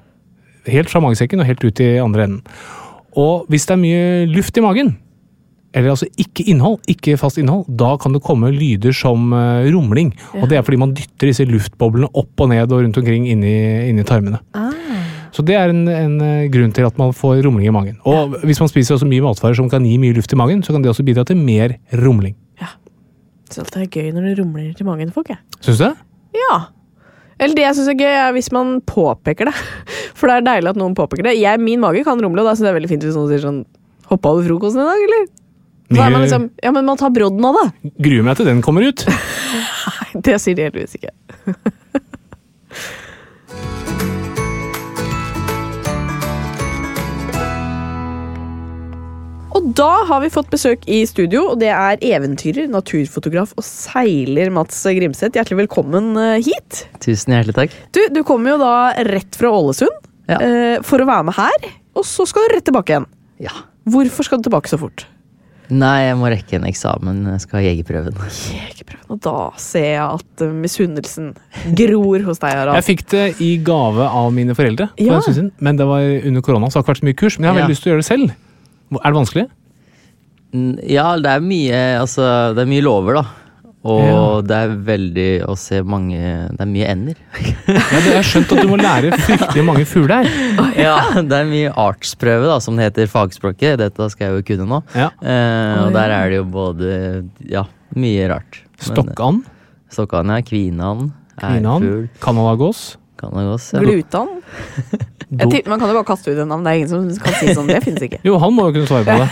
helt fra magesekken og helt ut i andre enden. Og hvis det er mye luft i magen, eller altså ikke innhold, ikke fast innhold, da kan det komme lyder som eh, rumling. Og det er fordi man dytter disse luftboblene opp og ned og rundt omkring inni, inni tarmene.
Ah,
Så det er en, en eh, grunn til at man får rumling i magen. Og hvis man spiser også mye matvarer som kan gi mye luft i magen, så kan det også bidra til mer rumling.
Så det er gøy når det rumler til magen til folk, jeg.
Syns du det?
Ja. Eller det jeg syns er gøy, er hvis man påpeker det. For det er deilig at noen påpeker det. Jeg, min mage kan rumle, og da syns jeg det er veldig fint hvis noen sier sånn Hoppa over frokosten i dag, eller? Da er man liksom, ja, men man tar brodden av det.
Gruer meg til den kommer ut.
Nei, Det sier de heldigvis ikke. Og da har vi fått besøk i studio, og det er eventyrer, naturfotograf og seiler Mats Grimseth. Hjertelig velkommen eh, hit.
Tusen hjertelig takk.
Du, du kommer jo da rett fra Ålesund
Ja.
eh, for å være med her, og så skal du rett tilbake igjen.
Ja.
Hvorfor skal du tilbake så fort?
Nei, jeg må rekke en eksamen. Jeg skal ha jegerprøven.
Jegerprøven. Og da ser jeg at eh, misunnelsen gror hos deg,
Jeg
Harald.
fikk det i gave av mine foreldre, for
Ja.
en stund siden, men det var under korona, så det har ikke vært så mye kurs. Men jeg har veldig
Ja.
lyst til å gjøre det selv. Er det vanskelig?
N- Ja, det er mye, altså, det er mye lover, da. Og
Ja.
det er veldig å se mange Det er mye ender.
Ja, det- jeg har skjønt at du må lære fryktelig mange fugler.
Ja, Det er mye artsprøve, da, som det heter i fagspråket. Dette skal jeg jo kunne nå.
Ja.
Eh,
Oi.
og der er det jo både Ja, mye rart.
Stokkand,
Stokkan, ja. Kvinan. Ærfugl.
kvinan, canadagås.
Kanagås. Ja.
Glutan. Jeg
do-
tipper- Man kan jo bare kaste ut et navn. Det er ingen som kan si sånn. Det finnes ikke.
Jo, han må jo kunne svare på det.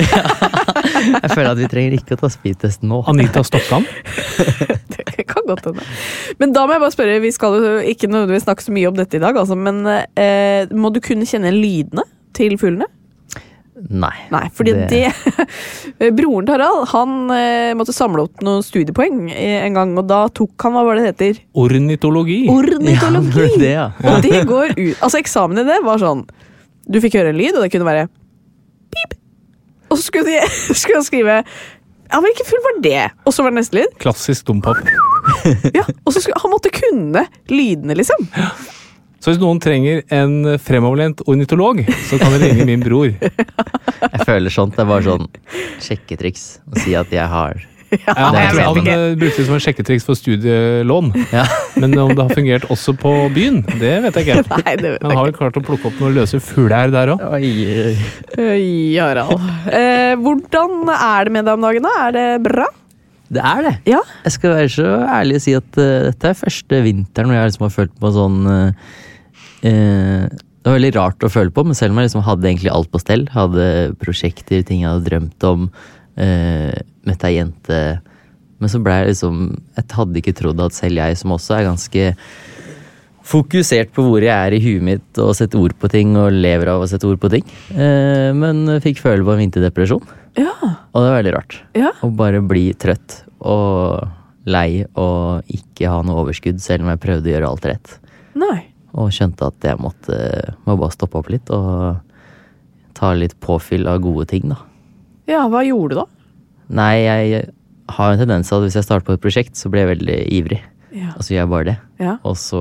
Jeg føler at vi trenger ikke å ta speedtest nå.
Anita Stokkan.
Det kan godt hende. Men da må jeg bare spørre, vi skal jo ikke nødvendigvis snakke så mye om dette i dag, altså, men eh, må du kunne kjenne lydene til fuglene?
Nei.
Nei, fordi det, Broren til Harald han eh, måtte samle opp noen studiepoeng eh, en gang, og da tok han hva var det det heter?
Ornitologi.
Ornitologi!
Ja, det, ja.
Og det går ut Altså, eksamen i det var sånn Du fikk høre en lyd, og det kunne være pip. Og så skulle, de, skulle han skrive Ja, hvilken fugl var det? Og så var det neste lyd.
Klassisk dompap.
Ja, og så skulle, Han måtte kunne lydene, liksom.
Så hvis noen trenger en fremoverlent ornitolog, så kan dere ringe min bror.
Jeg føler sånt. Det er bare sånn sjekketriks. Å si at jeg har
Ja, jeg
det er sånn.
tror han
kjempegøy.
eh, brukte det som en sjekketriks for studielån.
Ja.
Men om det har fungert også på byen, det vet jeg ikke.
Nei, det vet
Men
jeg
har vel klart å plukke opp noen løse fugler der òg.
Oi, oi.
ikke. Øy, Harald. Eh, hvordan er det med deg om dagen, da? Er det bra?
Det er det.
Ja.
Jeg skal være så ærlig og si at eh, dette er første vinteren hvor jeg liksom har følt på sånn eh, eh, Det var veldig rart å føle på, men selv om jeg liksom hadde egentlig alt på stell, hadde prosjekter, ting jeg hadde drømt om, eh, møtte ei jente Men så ble jeg liksom Jeg hadde ikke trodd at selv jeg, som også er ganske fokusert på hvor jeg er i huet mitt og sette ord på ting og lever av å sette ord på ting. Eh, men fikk føle på en vinterdepresjon,
Ja.
og det var veldig rart.
ja.
Å bare bli trøtt og lei og ikke ha noe overskudd, selv om jeg prøvde å gjøre alt rett.
Nei.
Og skjønte at jeg måtte må bare stoppe opp litt og ta litt påfyll av gode ting, da.
Ja, hva gjorde du da?
Nei, jeg har en tendens til at hvis jeg starter på et prosjekt, så blir jeg veldig ivrig.
Ja.
Og så gjør jeg bare det.
ja.
Og så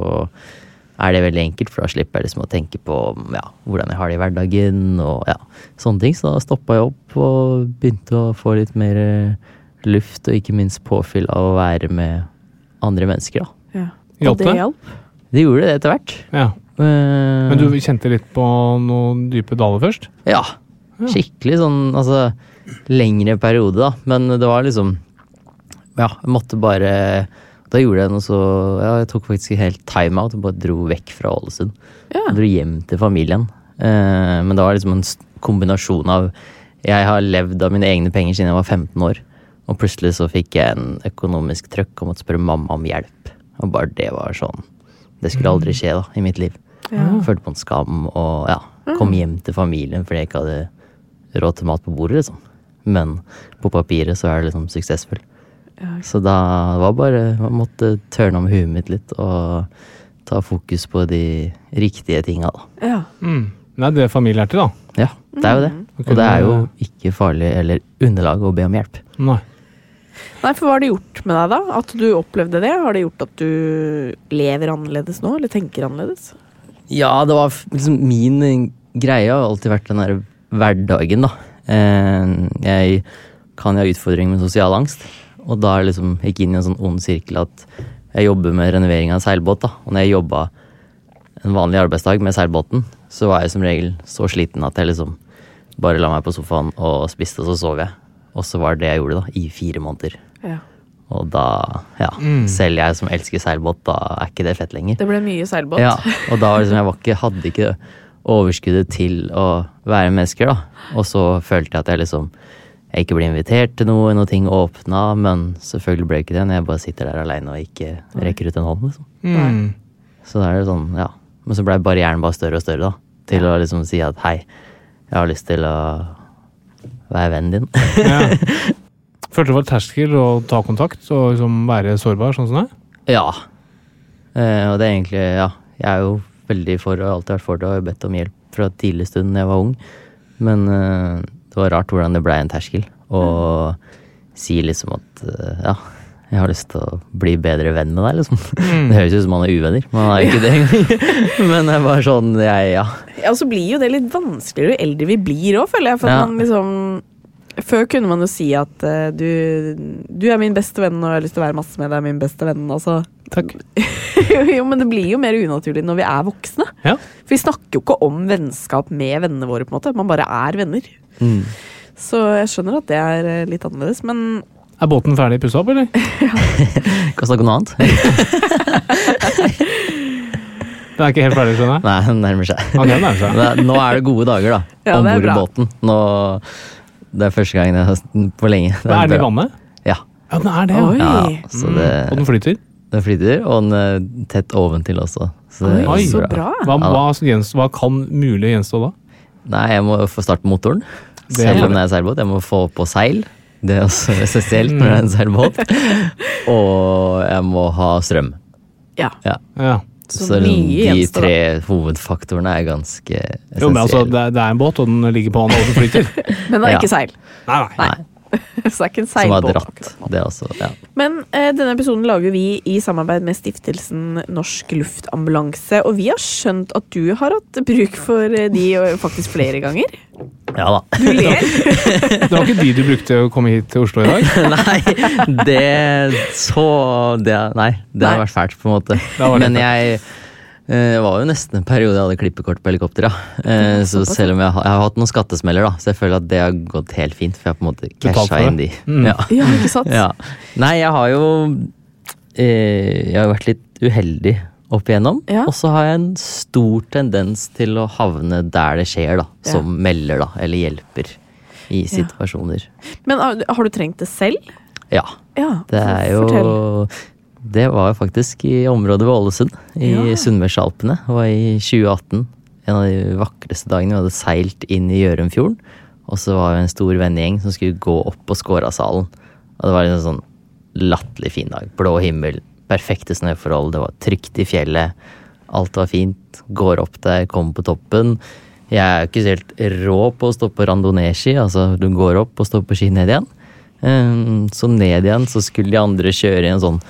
er det veldig enkelt, for da slipper jeg liksom å tenke på ja, hvordan jeg har det i hverdagen. og ja, sånne ting. Så da stoppa jeg opp og begynte å få litt mer eh, luft, og ikke minst påfyll av å være med andre mennesker. da.
ja.
Hjalp
Og det
det?
hjalp?
Det gjorde det etter hvert.
Ja.
Eh,
Men du kjente litt på noen dype daler først?
Ja. Skikkelig sånn altså lengre periode, da. Men det var liksom Ja, jeg måtte bare Da gjorde jeg noe så Ja, jeg tok faktisk helt timeout og bare dro vekk fra Ålesund.
Ja.
Jeg dro hjem til familien. Eh, men det var liksom en s- kombinasjon av Jeg har levd av mine egne penger siden jeg var 15 år. Og plutselig så fikk jeg en økonomisk trøkk og måtte spørre mamma om hjelp. Og bare det var sånn Det skulle aldri skje da, i mitt liv.
Ja. Mm.
Følte på en skam og ja, kom hjem til familien fordi jeg ikke hadde råd til mat på bordet, liksom. Men på papiret så er det liksom suksessfull.
Ja,
Så da var bare Jeg måtte tørne om huet mitt litt og ta fokus på de riktige tinga, da.
ja.
Mm. Nei, det familien er til, da.
Ja, det er jo det.
Ok,
Og det er jo
men-
ikke farlig eller underlag å be om hjelp.
Nei.
Nei, for hva har det gjort med deg, da? At du opplevde det? Har det gjort at du lever annerledes nå, eller tenker annerledes?
Ja, det var f- liksom min eh, greie har alltid vært den der hverdagen, da. Eh, Jeg kan jo ha utfordringer med sosial angst, og da er det liksom jeg gikk inn i en sånn ond sirkel at jeg jobber med renovering av seilbåt, da. Og når jeg jobba en vanlig arbeidsdag med seilbåten, så var jeg som regel så sliten at jeg liksom bare la meg på sofaen og spiste, og så sov jeg. Og så var det det jeg gjorde, da, i fire måneder.
Ja.
Og da, ja, selv jeg som elsker seilbåt, da er ikke det fett lenger.
Det ble mye seilbåt.
Ja, og da var liksom, jeg var ikke, hadde ikke overskuddet til å være mennesker, da. Og så følte jeg at jeg liksom jeg ikke ble invitert til noe, noe ting åpna, men selvfølgelig ble det ikke det når jeg bare sitter der aleine og ikke rekker ut en hånd, liksom.
Mm.
Så da er det sånn, ja. Men så blei barrieren bare større og større, da. Til å liksom si at hei, jeg har lyst til å være vennen din.
Ja. Følte det var terskel å ta kontakt og liksom være sårbar, sånn som det er?
Ja. Eh, og det er egentlig Ja. Jeg er jo veldig for og har alltid vært for det og har jo bedt om hjelp fra tidlig stund da jeg var ung. Men eh, det var rart hvordan det blei en terskel. Og si liksom at eh, ja, jeg har lyst til å bli bedre venn med deg, liksom. Det høres ut som man er uvenner, man er jo ikke det engang. Men det er bare sånn jeg, ja.
Ja, og så blir jo det litt vanskeligere jo eldre vi blir òg, føler jeg. For at
Ja.
man liksom Før kunne man jo si at eh, du, du er min beste venn, og jeg har lyst til å være masse med deg, min beste venn. Altså.
Takk.
jo, men det blir jo mer unaturlig når vi er voksne.
Ja.
For vi snakker jo ikke om vennskap med vennene våre, på en måte. Man bare er venner.
Mm.
Så jeg skjønner at det er eh, litt annerledes, men
Er båten ferdig pussa opp, eller?
Kan snakke om noe annet?
Den er ikke helt ferdig, skjønner jeg.
Nei, den nærmer seg.
Ja, den nærmer seg.
Men det- Nå er det gode dager, da.
Ja,
Om
det er
bord i
bra.
båten. Nå, det er første gangen jeg har på lenge.
Men er den i
bra.
vannet?
Ja.
Ja, den er det. ja.
Oi.
ja så
Mm.
det,
Og den flyter?
den flyter, og den er tett oventil også. Så det er
Oi,
så
bra.
bra.
Hva, hva, som gjenstår- hva kan mulig gjenstå da?
Nei, jeg må få starte motoren.
Det er
Selv om
bra.
det er seilbåt. Jeg må få på seil. Det er også essensielt når det
Mm.
er en seilbåt. Og jeg må ha strøm.
Ja.
Ja.
Ja.
Så
det er sånn,
mye
de
gjenstår, da.
tre hovedfaktorene er ganske essensielle.
Jo, men altså, det, er- det er en båt, og den ligger på vannet, og den flyter.
Men det er
Ja.
ikke seil.
Nei, nei.
Nei. så det er ikke en
som har
seilbåt.
dratt.
akkurat.
Det er også, ja.
Men eh, denne episoden lager vi i samarbeid med stiftelsen Norsk Luftambulanse. Og vi har skjønt at du har hatt bruk for eh, de og faktisk flere ganger.
ja da.
Du ler.
Det var ikke de du brukte å komme hit til Oslo i dag?
nei, det Så det, Nei, det hadde
Nei.
vært fælt, på en måte.
var det
Men jeg eh, var jo nesten en periode jeg hadde klippekort på helikopter, ja. Eh, så selv om jeg, har- jeg har hatt noen skattesmeller, da, så jeg føler at det har gått helt fint, for jeg har på en måte
Betalt for
casha inn de.
det. Mm.
Ja.
Ja, ikke sant?
Ja. Nei, jeg har jo eh, Jeg har vært litt uheldig opp igjennom.
Ja.
Og så har jeg en stor tendens til å havne der det skjer, da.
Ja.
Som melder, da. Eller hjelper i situasjoner.
Men har, har du trengt det selv?
Ja.
Ja,
Det er jo Det var jo faktisk i området ved Ålesund, i
Ja.
Sunnmørsalpene. Det var i 2018. En av de vakreste dagene. Vi hadde seilt inn i Gjørumfjorden. Og så var vi en stor vennegjeng som skulle gå opp på Skårasalen. Og det var en sånn latterlig fin dag. Blå himmel, perfekte snøforhold, det var trygt i fjellet. Alt var fint. Går opp der, kommer på toppen. Jeg er jo ikke så helt rå på å stå på randonee-ski, altså du går opp og står på ski ned igjen. Ehm, Så ned igjen så skulle de andre kjøre i en sånn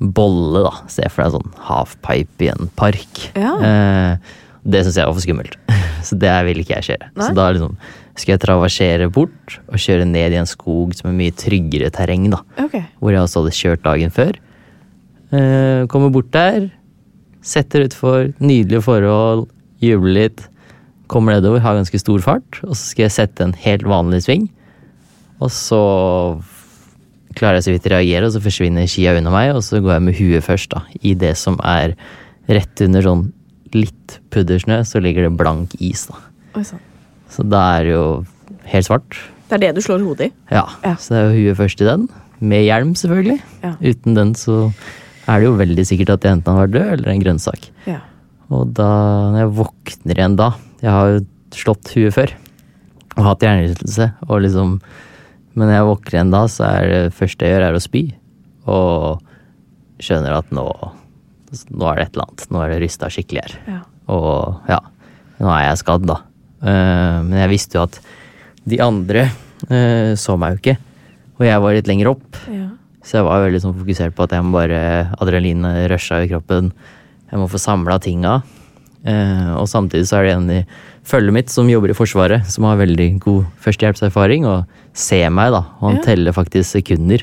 bolle, da. Se for deg sånn halfpipe i en park.
Ja.
Eh, Det syns jeg var for skummelt, så det vil ikke jeg kjøre. Så da liksom skal jeg traversere bort og kjøre ned i en skog som er mye tryggere terreng, da.
Ok.
Hvor jeg også hadde kjørt dagen før. Eh, Kommer bort der, setter utfor, nydelige forhold, jubler litt. Kommer nedover, har ganske stor fart, og så skal jeg sette en helt vanlig sving. Og så klarer jeg så vidt å reagere, og så forsvinner skia unna meg, og så går jeg med huet først, da, i det som er rett under sånn litt puddersnø, så ligger det blank is, da.
Oi sånn. sann.
Så da er det jo helt svart.
Det er det du slår hodet i?
Ja,
Ja.
så det er jo huet først i den. Med hjelm, selvfølgelig.
Ja.
Uten den så er det jo veldig sikkert at jeg enten har vært død eller en grønnsak.
Ja.
Og da, når jeg våkner igjen da Jeg har jo slått huet før og hatt hjernerystelse, og liksom Men når jeg våkner igjen da, så er det første jeg gjør, er å spy. Og skjønner at nå Nå er det et eller annet. Nå er det rysta skikkelig her.
Ja.
Og ja, nå er jeg skadd, da. Eh, men jeg visste jo at de andre eh, så meg jo ikke. Og jeg var litt lenger opp,
ja.
så jeg var veldig sånn fokusert på at jeg må bare Adrenalinet rusha i kroppen. Jeg må få samla tinga. Eh, og samtidig så er det en i følget mitt som jobber i Forsvaret, som har veldig god førstehjelpserfaring, og ser meg, da. Og han
Ja.
teller faktisk sekunder.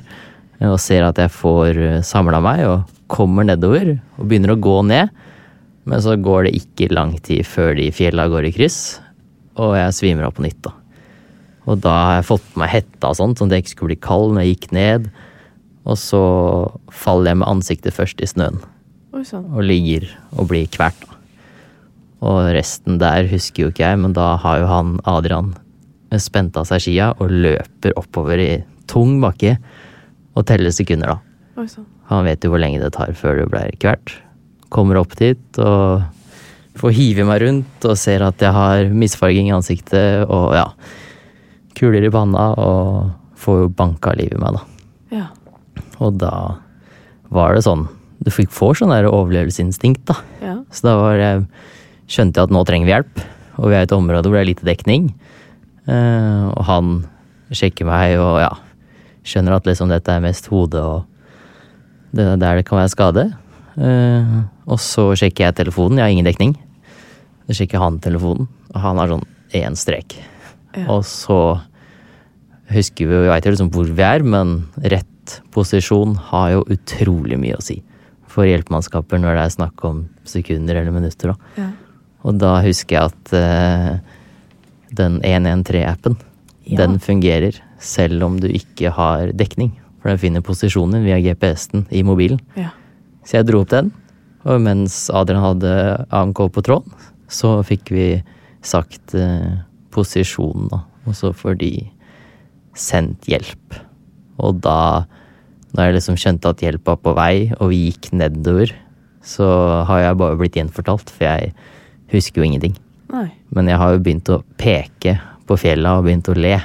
eh, Og ser at jeg får samla meg, og kommer nedover. Og begynner å gå ned. Men så går det ikke lang tid før de fjella går i kryss, og jeg svimer av på nytt, da. Og da har jeg fått på meg hetta og sånt, sånn at jeg ikke skulle bli kald når jeg gikk ned. Og så faller jeg med ansiktet først i snøen,
Oi sånn, sann.
og ligger og blir kvert. da. Og resten der husker jo ikke jeg, men da har jo han Adrian spent av seg skia og løper oppover i tung bakke og teller sekunder, da.
Oi sånn. sann.
Han vet jo hvor lenge det tar før det blir kvert. Kommer opp dit og får hive meg rundt og ser at jeg har misfarging i ansiktet og ja, kuler i panna og får jo banka liv i meg, da.
Ja.
Og da var det sånn Du fikk får sånn der overlevelsesinstinkt, da.
Ja.
Så da var jeg, skjønte jeg at nå trenger vi hjelp, og vi er i et område hvor det er lite dekning. Eh, og han sjekker meg og ja, skjønner at liksom dette er mest hode og det er der det kan være skade. Eh, og så sjekker jeg telefonen, jeg har ingen dekning. Så sjekker han telefonen, og han har sånn én strek.
Ja.
Og så husker vi jo, jeg vet jo liksom hvor vi er, men rett posisjon har jo utrolig mye å si for hjelpemannskaper når det er snakk om sekunder eller minutter. Da.
Ja.
Og da husker jeg at eh, den 113-appen,
Ja.
den fungerer selv om du ikke har dekning. For den finner posisjonen din via GPS-en i mobilen.
Ja.
Så jeg dro opp den, og mens Adrian hadde AMK på tråden, så fikk vi sagt eh, posisjonen, da. Og så får de sendt hjelp. Og da, når jeg liksom skjønte at hjelp var på vei, og vi gikk nedover, så har jeg bare blitt gjenfortalt, for jeg husker jo ingenting.
Nei.
Men jeg har jo begynt å peke på fjella og begynt å le.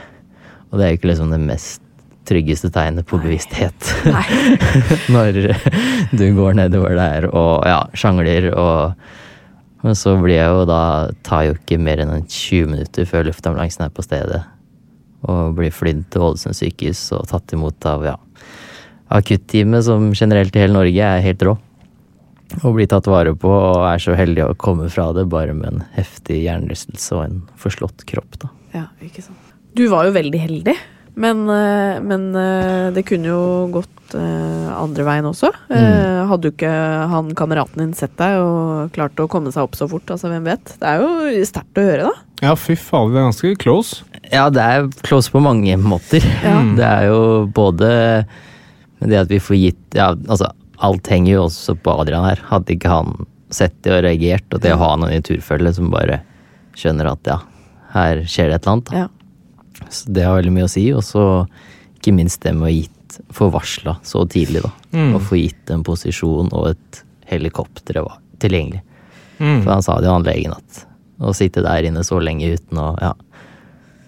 Og det er jo ikke liksom det mest tryggeste tegnet på bevissthet. Når du går nedover der og ja, sjangler og Men så blir jeg jo da Tar jo ikke mer enn en 20 minutter før luftambulansen er på stedet. Og blir flydd til Ålesund sykehus og tatt imot av ja, akutteamet, som generelt i hele Norge er helt rå og blir tatt vare på og er så heldig å komme fra det bare med en heftig hjernerystelse og en forslått kropp, da.
Ja, ikke sant. Du var jo veldig heldig, men, eh, men eh, det kunne jo gått eh, andre veien også. Eh, Hadde jo ikke han kameraten din sett deg og klart å komme seg opp så fort, altså hvem vet. Det er jo sterkt å høre, da.
Ja, fy fader, det er ganske close.
Ja, det er close på mange måter.
Ja.
Det er jo både det at vi får gitt ja, altså, Alt henger jo også på Adrian her. Hadde ikke han sett det og reagert, og det å ha noen i turfølge som bare skjønner at ja, her skjer det et eller annet, da.
Ja.
Så det har veldig mye å si. Og så ikke minst det med å ha gitt blitt forvarsla så tidlig, da.
Mm.
Å få gitt en posisjon og et helikopter var tilgjengelig.
Mm.
For han sa det jo han legen at å sitte der inne så lenge uten å ja,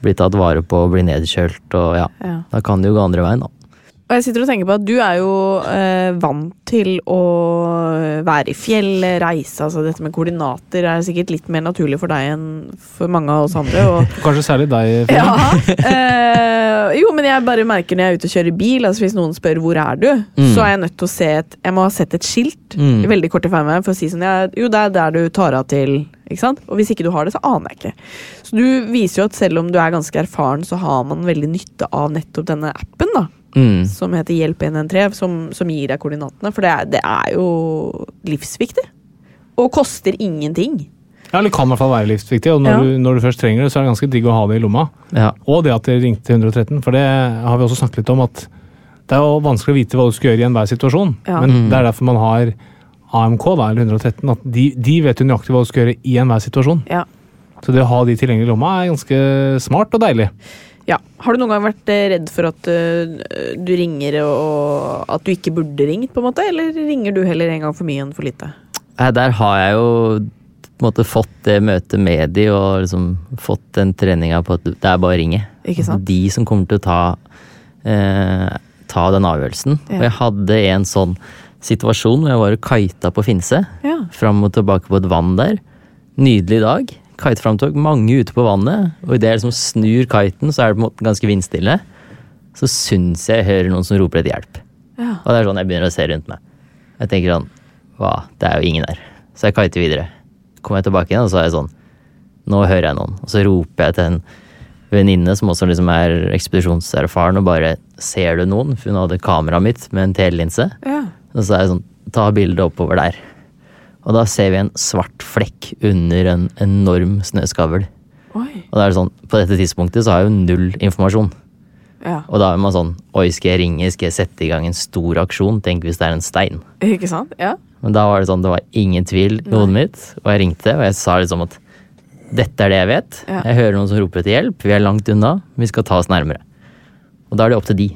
bli tatt vare på, bli nedkjølt og ja,
Ja.
da kan det jo gå andre veien, da.
Og jeg sitter og tenker på at du er jo eh, vant til å eh, være i fjellet, reise. altså Dette med koordinater er sikkert litt mer naturlig for deg enn for mange av oss andre. Og,
Kanskje særlig deg, Frida.
ja, eh, jo, men jeg bare merker når jeg er ute og kjører bil, altså hvis noen spør hvor er du,
Mm.
så er jeg nødt til å se et Jeg må ha sett et skilt
Mm.
veldig kort i meg for å si sånn ja, Jo, det er der du tar av til. Ikke sant? Og hvis ikke du har det, så aner jeg ikke. Så du viser jo at selv om du er ganske erfaren, så har man veldig nytte av nettopp denne appen. da
Mm.
som heter Hjelp 113, som, som gir deg koordinatene. For det er, det er jo livsviktig. Og koster ingenting.
Ja, eller kan i hvert fall være livsviktig, og når,
Ja.
du, når du først trenger det, så er det ganske digg å ha det i lomma.
Ja.
Og det at dere ringte 113, for det har vi også snakket litt om, at det er jo vanskelig å vite hva du skal gjøre i enhver situasjon.
Ja.
Men det er derfor man har AMK, da, eller 113, at de, de vet jo nøyaktig hva du skal gjøre i enhver situasjon.
Ja.
Så det å ha de tilgjengelig i lomma er ganske smart og deilig.
ja. Har du noen gang vært eh, redd for at eh, du ringer og at du ikke burde ringt, på en måte? Eller ringer du heller en gang for mye enn for lite?
Nei, Der har jeg jo på en måte fått det møtet med de og liksom fått den treninga på at det er bare å ringe. Altså,
Ikke sant?
De som kommer til å ta, eh, ta den avgjørelsen.
Ja.
Og jeg hadde en sånn situasjon hvor jeg var og kita på Finse.
Ja.
Fram og tilbake på et vann der. Nydelig dag. Kiteframtog, mange ute på vannet. Og idet jeg liksom snur kiten, så er det på en måte ganske vindstille. Så syns jeg jeg hører noen som roper etter hjelp.
Ja.
Og det er sånn jeg begynner å se rundt meg. Jeg tenker sånn Hva, det er jo ingen der. Så jeg kiter videre. Kommer jeg tilbake igjen, og så er jeg sånn Nå hører jeg noen. Og så roper jeg til en venninne som også liksom er ekspedisjonserfaren, og bare Ser du noen? For hun hadde kameraet mitt med en telelinse.
Ja.
Og så er jeg sånn Ta bildet oppover der. Og da ser vi en svart flekk under en enorm snøskavl.
Oi.
Og da er det sånn, på dette tidspunktet så har jeg jo null informasjon.
Ja.
Og da er man sånn Oi, skal jeg ringe? Skal jeg sette i gang en stor aksjon? Tenk hvis det er en stein.
Ikke sant? Ja.
Men da var det sånn, det var ingen tvil i hodet mitt, og jeg ringte, og jeg sa liksom at dette er det jeg vet.
Ja.
Jeg hører noen som roper etter hjelp, vi er langt unna, vi skal ta oss nærmere. Og da er det opp til de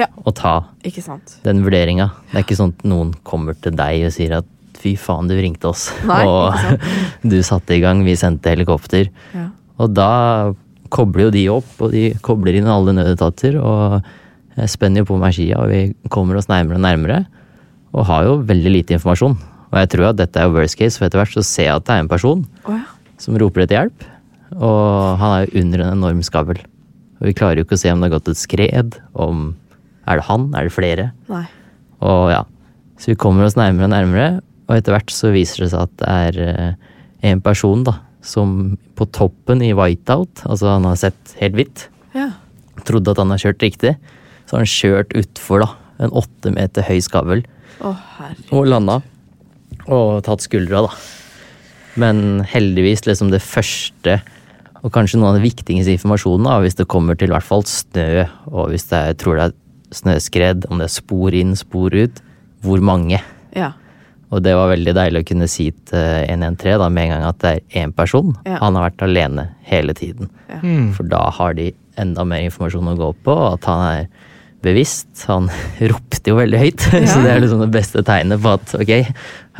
Ja.
å ta
Ikke sant?
den vurderinga. Det er ikke sånn at noen kommer til deg og sier at fy faen, du ringte oss,
Nei, ikke
og du satte i gang, vi sendte helikopter.
Ja.
Og da kobler jo de opp, og de kobler inn alle nødetater, og jeg spenner jo på meg skia, og vi kommer oss nærmere og nærmere, og har jo veldig lite informasjon. Og jeg tror at dette er worst case, for etter hvert så ser jeg at det er en person
Å ja.
som roper etter hjelp, og han er jo under en enorm skavl. Og vi klarer jo ikke å se om det har gått et skred, om er det han, er det flere?
Nei.
Og ja, så vi kommer oss nærmere og nærmere, og etter hvert så viser det seg at det er eh, en person da, som på toppen i whiteout, altså han har sett helt hvitt,
Ja.
trodde at han har kjørt riktig, så har han kjørt utfor da, en åtte meter høy skavl,
Å herre.
og landa, og tatt skuldra da. Men heldigvis liksom det første, og kanskje noen av de viktigste informasjonene, da, hvis det kommer til i hvert fall snø, og hvis det er, tror det er snøskred, om det er spor inn, spor ut, hvor mange.
Ja.
Og det var veldig deilig å kunne si til 113 da, med en gang at det er én person.
Ja.
Han har vært alene hele tiden.
Ja.
Mm.
For da har de enda mer informasjon å gå på, og at han er bevisst. Han ropte jo veldig høyt, så det er liksom det beste tegnet på at ok,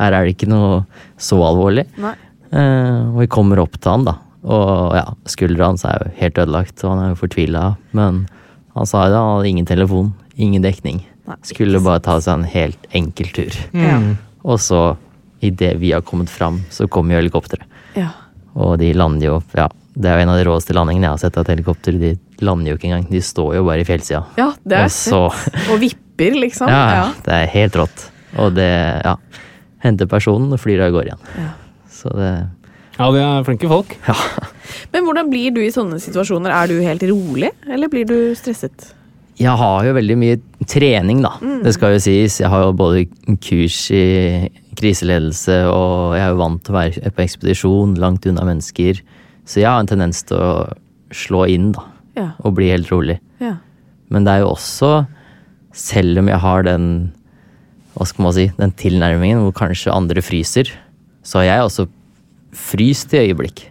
her er det ikke noe så alvorlig.
Nei.
Eh, og vi kommer opp til han, da. Og ja, skuldra hans er jo helt ødelagt, og han er jo fortvila. Men han sa jo det, han hadde ingen telefon, ingen dekning.
Nei, Mm. ikke
Skulle bare ta seg en helt enkel tur.
Ja.
Og så, idet vi har kommet fram, så kommer jo helikopteret.
Ja.
Og de lander jo Ja, det er jo en av de råeste landingene jeg har sett av et helikopter. De lander jo ikke engang. De står jo bare i fjellsida.
ja, det
Og
er
så
Og vipper, liksom.
ja, ja, det er helt rått. Og det Ja. Henter personen og flyr av gårde igjen.
Ja.
Så det
Ja, de er flinke folk.
Men hvordan blir du i sånne situasjoner? Er du helt rolig, eller blir du stresset?
Jeg har jo veldig mye trening, da.
Mm.
Det skal jo sies. Jeg har jo både kurs i kriseledelse, og jeg er jo vant til å være på ekspedisjon, langt unna mennesker. Så jeg har en tendens til å slå inn, da.
Ja.
Og bli helt rolig.
Ja.
Men det er jo også, selv om jeg har den hva skal man si, den tilnærmingen hvor kanskje andre fryser, så har jeg også fryst i øyeblikk.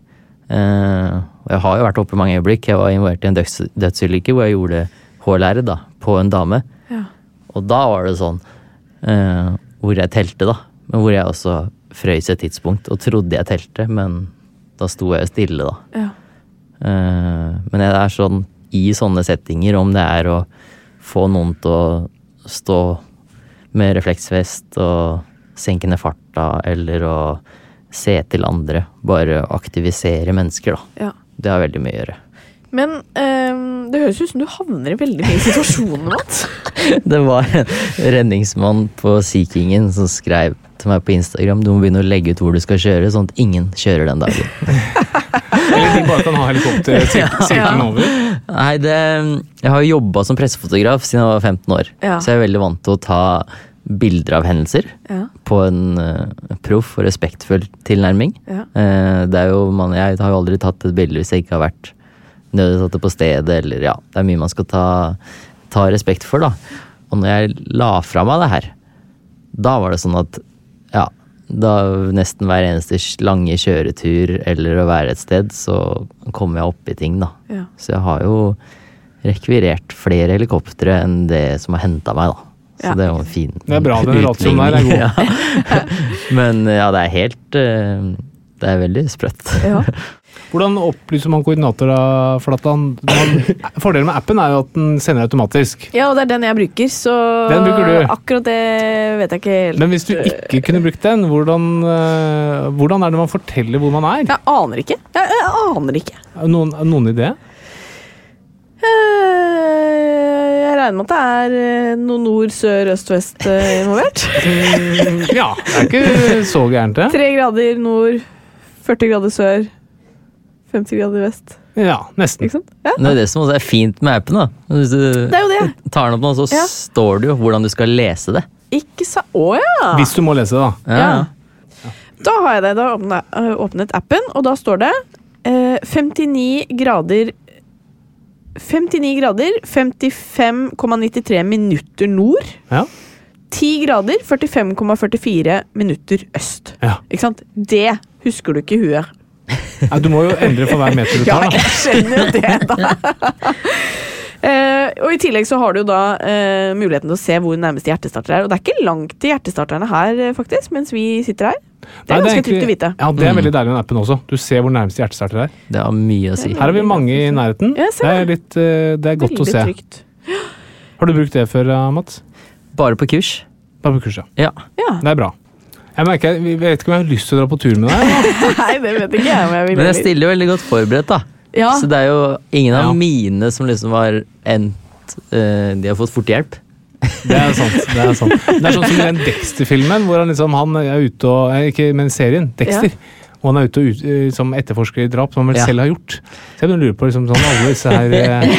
Eh, og jeg har jo vært oppe i mange øyeblikk. Jeg var involvert i en døds dødsulykke hvor jeg gjorde H-lære da, på en dame.
Ja.
Og da var det sånn eh, hvor jeg telte, da. Men hvor jeg også frøys et tidspunkt og trodde jeg telte, men da sto jeg jo stille, da.
Ja.
Eh, Men det er sånn i sånne settinger, om det er å få noen til å stå med refleksvest og senke ned farta, eller å se til andre. Bare aktivisere mennesker, da.
ja.
Det har veldig mye å gjøre.
Men ehm, det høres ut som du havner i veldig mye situasjoner, Mats.
Det var en redningsmann på Sea Kingen som skrev til meg på Instagram du må begynne å legge ut hvor du skal kjøre, sånn at ingen kjører den dagen.
Eller de bare kan ha helikopter sirk- sirkelen
Ja.
over.
Nei, det, jeg har jo jobba som pressefotograf siden jeg var 15 år.
Ja.
Så jeg er veldig vant til å ta bilder av hendelser
Ja,
på en eh, proff og respektfull tilnærming.
ja.
Eh, det er jo, man, jeg har jo aldri tatt et bilde hvis jeg ikke har vært nødvendig på stedet. Eller, ja, det er mye man skal ta, ta respekt for, da. Og når jeg la fra meg det her, da var det sånn at ja, da nesten hver eneste lange kjøretur eller å være et sted, så kom jeg opp i ting, da.
Ja.
Så jeg har jo rekvirert flere helikoptre enn det som har henta meg, da. Så
Ja.
det er jo en fin
Det er bra, den ratioen der er god.
Ja. Men ja, det er helt eh, Det er veldig sprøtt.
ja.
Hvordan opplyser man koordinater da, Flatan? Man- Fordelen med appen er jo at den sender automatisk.
ja, og det er den jeg bruker, så
Den bruker du.
akkurat det vet jeg ikke helt.
Men hvis du ikke kunne brukt den, hvordan, eh, hvordan er det man forteller hvor man er?
Jeg aner ikke. Jeg, jeg aner ikke.
Noen, noen idé?
Eh, Jeg regner med at det er eh, noe nord, sør, øst, vest eh, involvert.
Mm, Ja, det er ikke så gærent, det.
Tre grader nord, 40 grader sør, 50 grader vest.
Ja, nesten.
Ikke sant? Ja,
Det er det som også er fint med appen. da Hvis
det er
du
jo det.
tar den opp nå, så
Ja.
står det jo hvordan du skal lese det.
Ikke sa Å ja!
Hvis du må lese, da.
Ja. Da har jeg det. Da har jeg åpnet, øh, åpnet appen, og da står det eh, 59 grader 59 grader 55,93 minutter nord.
Ja.
10 grader 45,44 minutter øst.
Ja.
Ikke sant? Det husker du ikke i huet.
Nei, Du må jo endre for hver meter du
Ja,
tar, da.
jeg skjønner jo det, da. Eh, og I tillegg så har du jo da eh, muligheten til å se hvor nærmeste hjertestarter er. Og det er ikke langt til hjertestarterne her, eh, faktisk, mens vi sitter her. Det
Nei,
er ganske
egentlig-
trygt å vite.
Ja, Det er veldig deilig med appen også. Du ser hvor nærmeste hjertestarter er.
Det har mye å si.
Her er vi mange i nærheten.
Ja, jeg
Det
ser
er, litt, eh, det er godt
Veldig
å se.
Trygt.
Har du brukt det før, eh, Mats?
Bare på kurs.
Bare på kurset.
Ja.
Ja.
Det er bra. Jeg merker, jeg vet ikke om jeg har lyst til å dra på tur med deg.
Nei, det vet ikke jeg om jeg vil.
Men jeg stiller jo veldig godt forberedt, da.
Ja.
Så det er jo ingen av
Ja.
mine som liksom har endt eh, De har fått fortehjelp.
Det er sant. Det er, sant. Det er sånn som i den Dexter-filmen, hvor han liksom han er ute og eh, Ikke, men serien. Dexter. Og han er ute og ut, eh, som etterforsker i drap som han vel
Ja.
selv har gjort. Så jeg begynner å lure på liksom, sånn, alle disse her eh,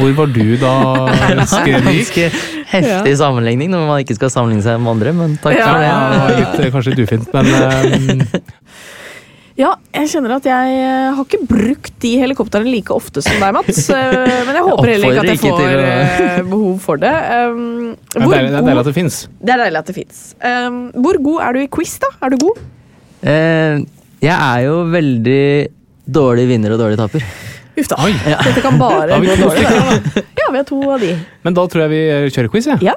Hvor var du da skrevet gikk?
Ganske heftig sammenligning når man ikke skal sammenligne seg med andre, men takk
Ja.
Ja, det
for det.
var litt, eh, kanskje litt ufint, men eh,
Ja, jeg kjenner at jeg eh, har ikke brukt de helikoptrene like ofte som deg, Mats. eh, Men jeg håper heller ikke at jeg
oppfordrer ikke
får
til å-
eh, behov for det. Um,
det er
hvor
deilig, det er deilig
god-
at det fins.
det er deilig at det fins. Um, hvor god er du i quiz, da? Er du god?
Eh, jeg er jo veldig dårlig vinner og dårlig taper.
Uff da. Dette kan
Da
bare
har vi
gå
to
dårlig. da. Ja, vi har to av de.
Men da tror jeg vi eh, kjører quiz, jeg.
Ja.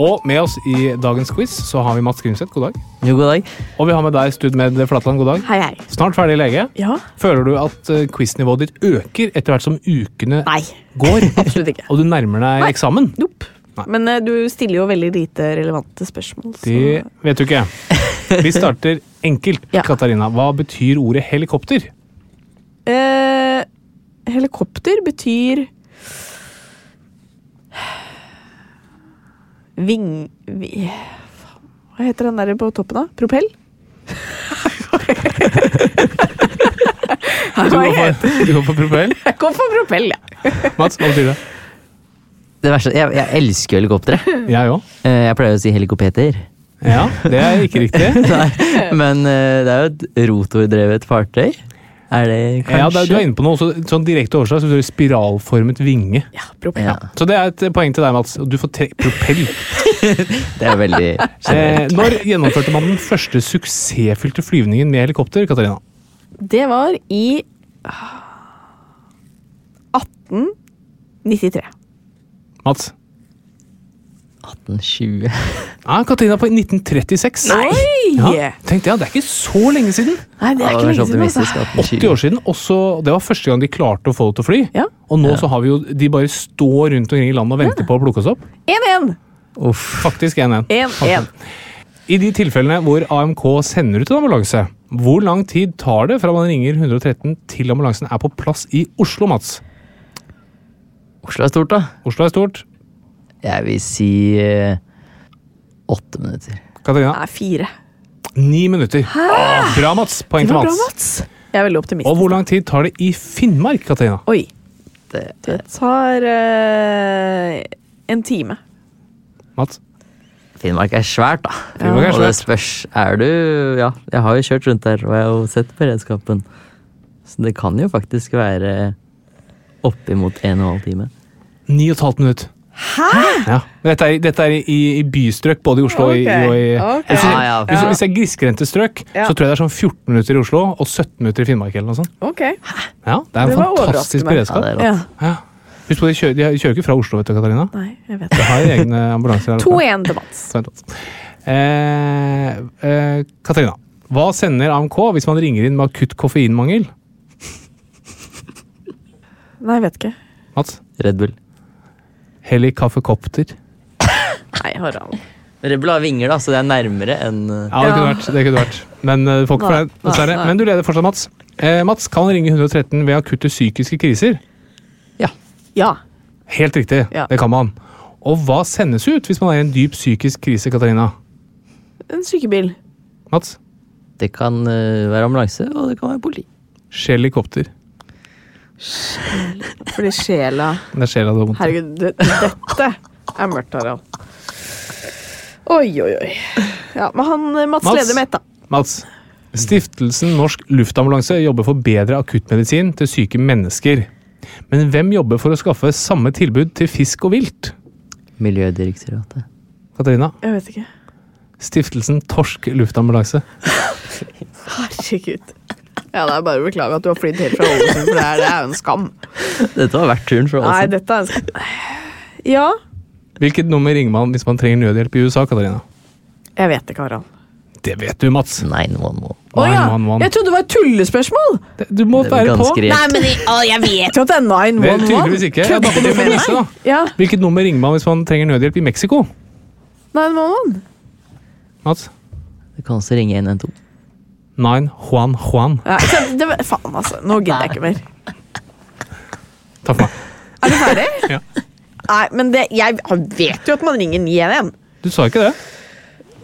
Og med oss i dagens quiz så har vi Mats Grimseth, god dag.
Jo, god dag.
Og vi har med deg, Studmed Flatland, god dag.
Hei, hei.
Snart ferdig lege.
Ja.
Føler du at eh, quiznivået ditt øker etter hvert som ukene
Nei.
går,
Absolutt ikke.
og du nærmer deg
Nei.
eksamen?
Nope.
Nei.
Men eh, du stiller jo veldig lite relevante spørsmål. Så.
Det vet du ikke. Vi starter enkelt.
Ja.
Katarina, hva betyr ordet helikopter?
Eh, helikopter betyr Ving... Vi, faen, hva heter den der på toppen, da? Propell?
Du går for, du går for propell.
Jeg går for propell, ja.
Mats, hva betyr det?
Det verste, jeg, jeg elsker jo helikoptre.
Jeg òg.
Eh, jeg pleier å si helikopeter.
Ja, det er ikke riktig.
Men eh, det er jo et rotordrevet fartøy. Er det kanskje
Ja, det er, du er inne på noe så, sånn direkte årsak, så betyr det spiralformet vinge.
Ja, propell.
Ja.
Så det er et poeng til deg, Mats. Du får tre propell.
Det er veldig
Eh, når gjennomførte man den første suksessfylte flyvningen med helikopter? Katarina?
Det var i ah, 18... 93.
Mats?
1820.
Ja, Katrina på 1936.
Nei!
Ja, tenkte jeg, Det er ikke så lenge siden!
Nei, det er ikke lenge siden. Altså.
80 år siden. Også, det var første gang de klarte å få det til å fly.
Ja.
Og nå så har vi jo De bare står rundt omkring i landet og venter på å plukke oss opp.
1-1.
Uff.
Faktisk 1-1.
1-1.
I de tilfellene hvor AMK sender ut en ambulanse, hvor lang tid tar det fra man ringer 113 til ambulansen er på plass i Oslo, Mats?
Oslo er stort, da.
Oslo er stort.
Jeg vil si eh, åtte minutter.
Katarina,
Nei, fire.
ni minutter. Bra, Mats. Poeng
Det
til
var bra,
Mats.
Mats. Jeg er veldig optimist.
Og hvor lang tid tar det i Finnmark, Katarina?
Oi.
Det,
Det tar eh, en time.
Mats?
Finnmark er svært, da.
Finnmark er
Og det
svært.
spørs Er du Ja, jeg har jo kjørt rundt der, og jeg har jo sett beredskapen. Så det kan jo faktisk være oppimot en og en halv time.
Ni og et halvt minutt. Hæ?! Ja. Dette er, dette er i, i bystrøk, både i Oslo og i,
Ok,
og i
ok.
Hvis,
Ja, ja.
hvis, hvis det er grisgrendte strøk,
Ja.
så tror jeg det er sånn 14 minutter i Oslo og 17 minutter i Finnmark. eller noe sånt.
Ok.
Ja, Det er en
Det var
fantastisk
overraskende.
Ja,
beredskap.
det er
Ja.
rått.
Ja. Husk på, de kjører, de kjører ikke fra Oslo, vet du, Katarina.
Nei, jeg vet det.
De har jo egne ambulanser. her oppe.
2-1 til Mats.
Så vent litt. Eh, eh, Katarina, hva sender AMK hvis man ringer inn med akutt koffeinmangel?
Nei, jeg vet ikke.
Mats?
Red Bull.
Helikofferkopter.
Nei, Harald.
Red Bull har vinger, da, så det er nærmere enn eh,
Ja, det kunne
Ja.
vært. det kunne vært. Men eh, du får ikke for
Nei,
deg, dessverre.
nei, nei.
Men du leder fortsatt, Mats. Eh, Mats kan ringe 113 ved akutte psykiske kriser.
Ja.
Helt riktig,
Ja.
det kan man. Og hva sendes ut hvis man er i en dyp psykisk krise, Katarina?
En sykebil.
Mats?
Det kan eh, være ambulanse, og det kan være politi.
Helikopter.
Fordi sjela
Det er sjela det er vondt. i.
Herregud, det, dette er mørkt, Harald. Oi, oi, oi. Ja, men han eh, Mats,
Mats?
leder med ett, da.
Mats. Stiftelsen Norsk Luftambulanse jobber for bedre akuttmedisin til syke mennesker. Men hvem jobber for å skaffe samme tilbud til fisk og vilt?
Miljødirektoratet.
Katarina.
Jeg vet ikke.
Stiftelsen Torsk Luftambulanse.
Herregud. Ja, det er bare å beklage at du har flydd helt fra Ålesund, for det er, det er jo en skam.
Dette var verdt turen for
Nei,
oss.
dette er en skam. Ja,
Hvilket nummer ringer man hvis man trenger nødhjelp i USA, Katarina?
jeg vet ikke, Harald.
Det vet du, Mats.
Nei, nå, nå.
Å ja,
911.
jeg trodde det var et tullespørsmål!
Det- Du må
Det er
være på.
ganske
Det
rett.
Nei, men jeg, å, jeg vet
Jeg tror at det er 911.
er tydeligvis ikke. Ja, da får du få vise, da.
Ja,
Hvilket nummer ringer man hvis man trenger nødhjelp i Mexico?
911.
Mats?
Du kan også ringe 112.
9 Juan Juan.
Ja, ikke sant, det var, faen, altså. Nå gidder jeg ikke mer.
Takk for meg.
Er du ferdig?
Ja.
Nei, men det, jeg han vet jo at man ringer 911.
Du sa ikke det?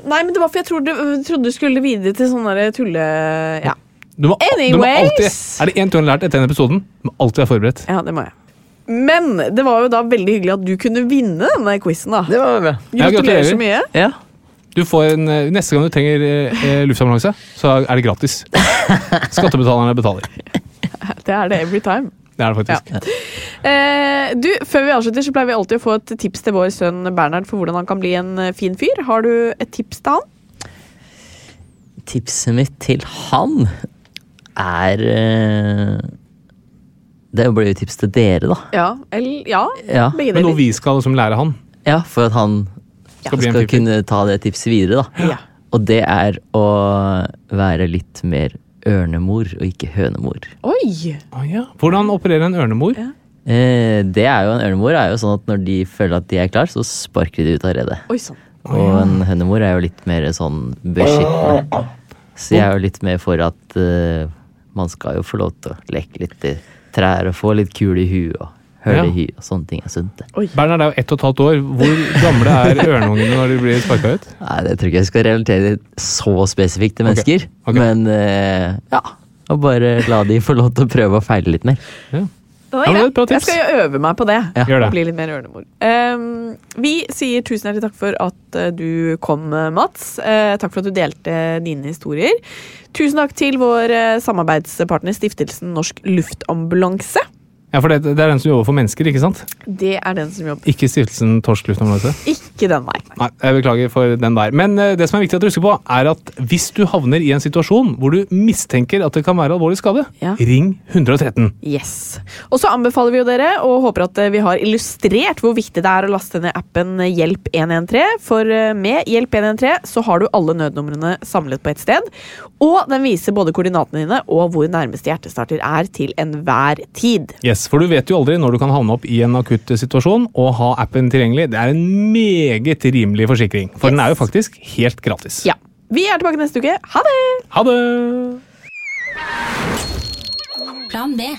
Nei, men det var for jeg trodde, trodde du skulle videre til sånn der tulle... Ja.
Du må, du må alltid,
Anyways.
er det én du har lært etter denne episoden? Du må alltid være forberedt.
ja, det må jeg. Men det var jo da veldig hyggelig at du kunne vinne denne quizen, da.
Det var bra.
Ja, gratulerer.
Gratulerer så mye.
Ja.
Du får en, eh, neste gang du trenger eh, eh, luftambulanse, så er det gratis. Skattebetalerne betaler.
Det er det every time.
Det er det faktisk.
Eh, du, Før vi avslutter, så pleier vi alltid å få et tips til vår sønn Bernhard for hvordan han kan bli en eh, fin fyr. Har du et tips til han?
tipset mitt til han er eh, Det blir jo tips til dere, da.
Ja. Eller ja.
Ja,
Begge
Men
deler.
noe vi skal liksom lære han.
ja For at han
Skal bli en fin
skal
fyr.
kunne ta det tipset videre, da.
Ja.
Og det er å være litt mer ørnemor og ikke hønemor.
Oi!
Ah, ja. Hvordan opererer en ørnemor?
Eh, det er jo En ørnemor er jo sånn at når de føler at de er klar, så sparker de ut av redet.
Oi sånn. sann.
Og en hønemor er jo litt mer sånn beskyttende. Så jeg er jo litt mer for at eh, man skal jo få lov til å leke litt i trær og få litt kul i huet og høl i
Ja.
huet og sånne ting er sunt. det.
Bernhard er jo ett og et halvt år. Hvor gamle er ørneungene når de blir sparka ut?
Nei, det tror jeg ikke jeg skal relatere så spesifikt til mennesker.
ok.
Men eh, ja, og bare la de få lov til å prøve og feile litt mer.
Ja.
Den er
Ja, men det er
grei.
et bra
Jeg
tips.
skal jo øve meg på det.
Ja.
Gjør det.
Og bli litt mer ørnemor. Ehm, vi sier tusen hjertelig takk for at eh, du kom, eh, Mats. Eh, takk for at du delte dine historier. Tusen takk til vår eh, samarbeidspartner Stiftelsen Norsk Luftambulanse.
Ja, for det, det er den som jobber for mennesker, ikke sant?
Det er den som jobber.
Ikke Stiftelsen Torsk Luftambulanse.
Ikke den veien.
Nei, jeg beklager for den der. Men eh, det som er viktig at du husker på, er at hvis du havner i en situasjon hvor du mistenker at det kan være alvorlig skade,
Ja.
ring 113.
Yes. Og så anbefaler vi jo dere, og håper at eh, vi har illustrert hvor viktig det er å laste ned appen Hjelp 113. For eh, med Hjelp 113 så har du alle nødnumrene samlet på ett sted. Og den viser både koordinatene dine og hvor nærmeste hjertestarter er til enhver tid.
Yes, For du vet jo aldri når du kan havne opp i en akutt situasjon. Å ha appen tilgjengelig det er en meget rimelig forsikring. For den er jo faktisk helt gratis.
Ja. Vi er tilbake neste uke. Ha det!
Ha det!
Plan B.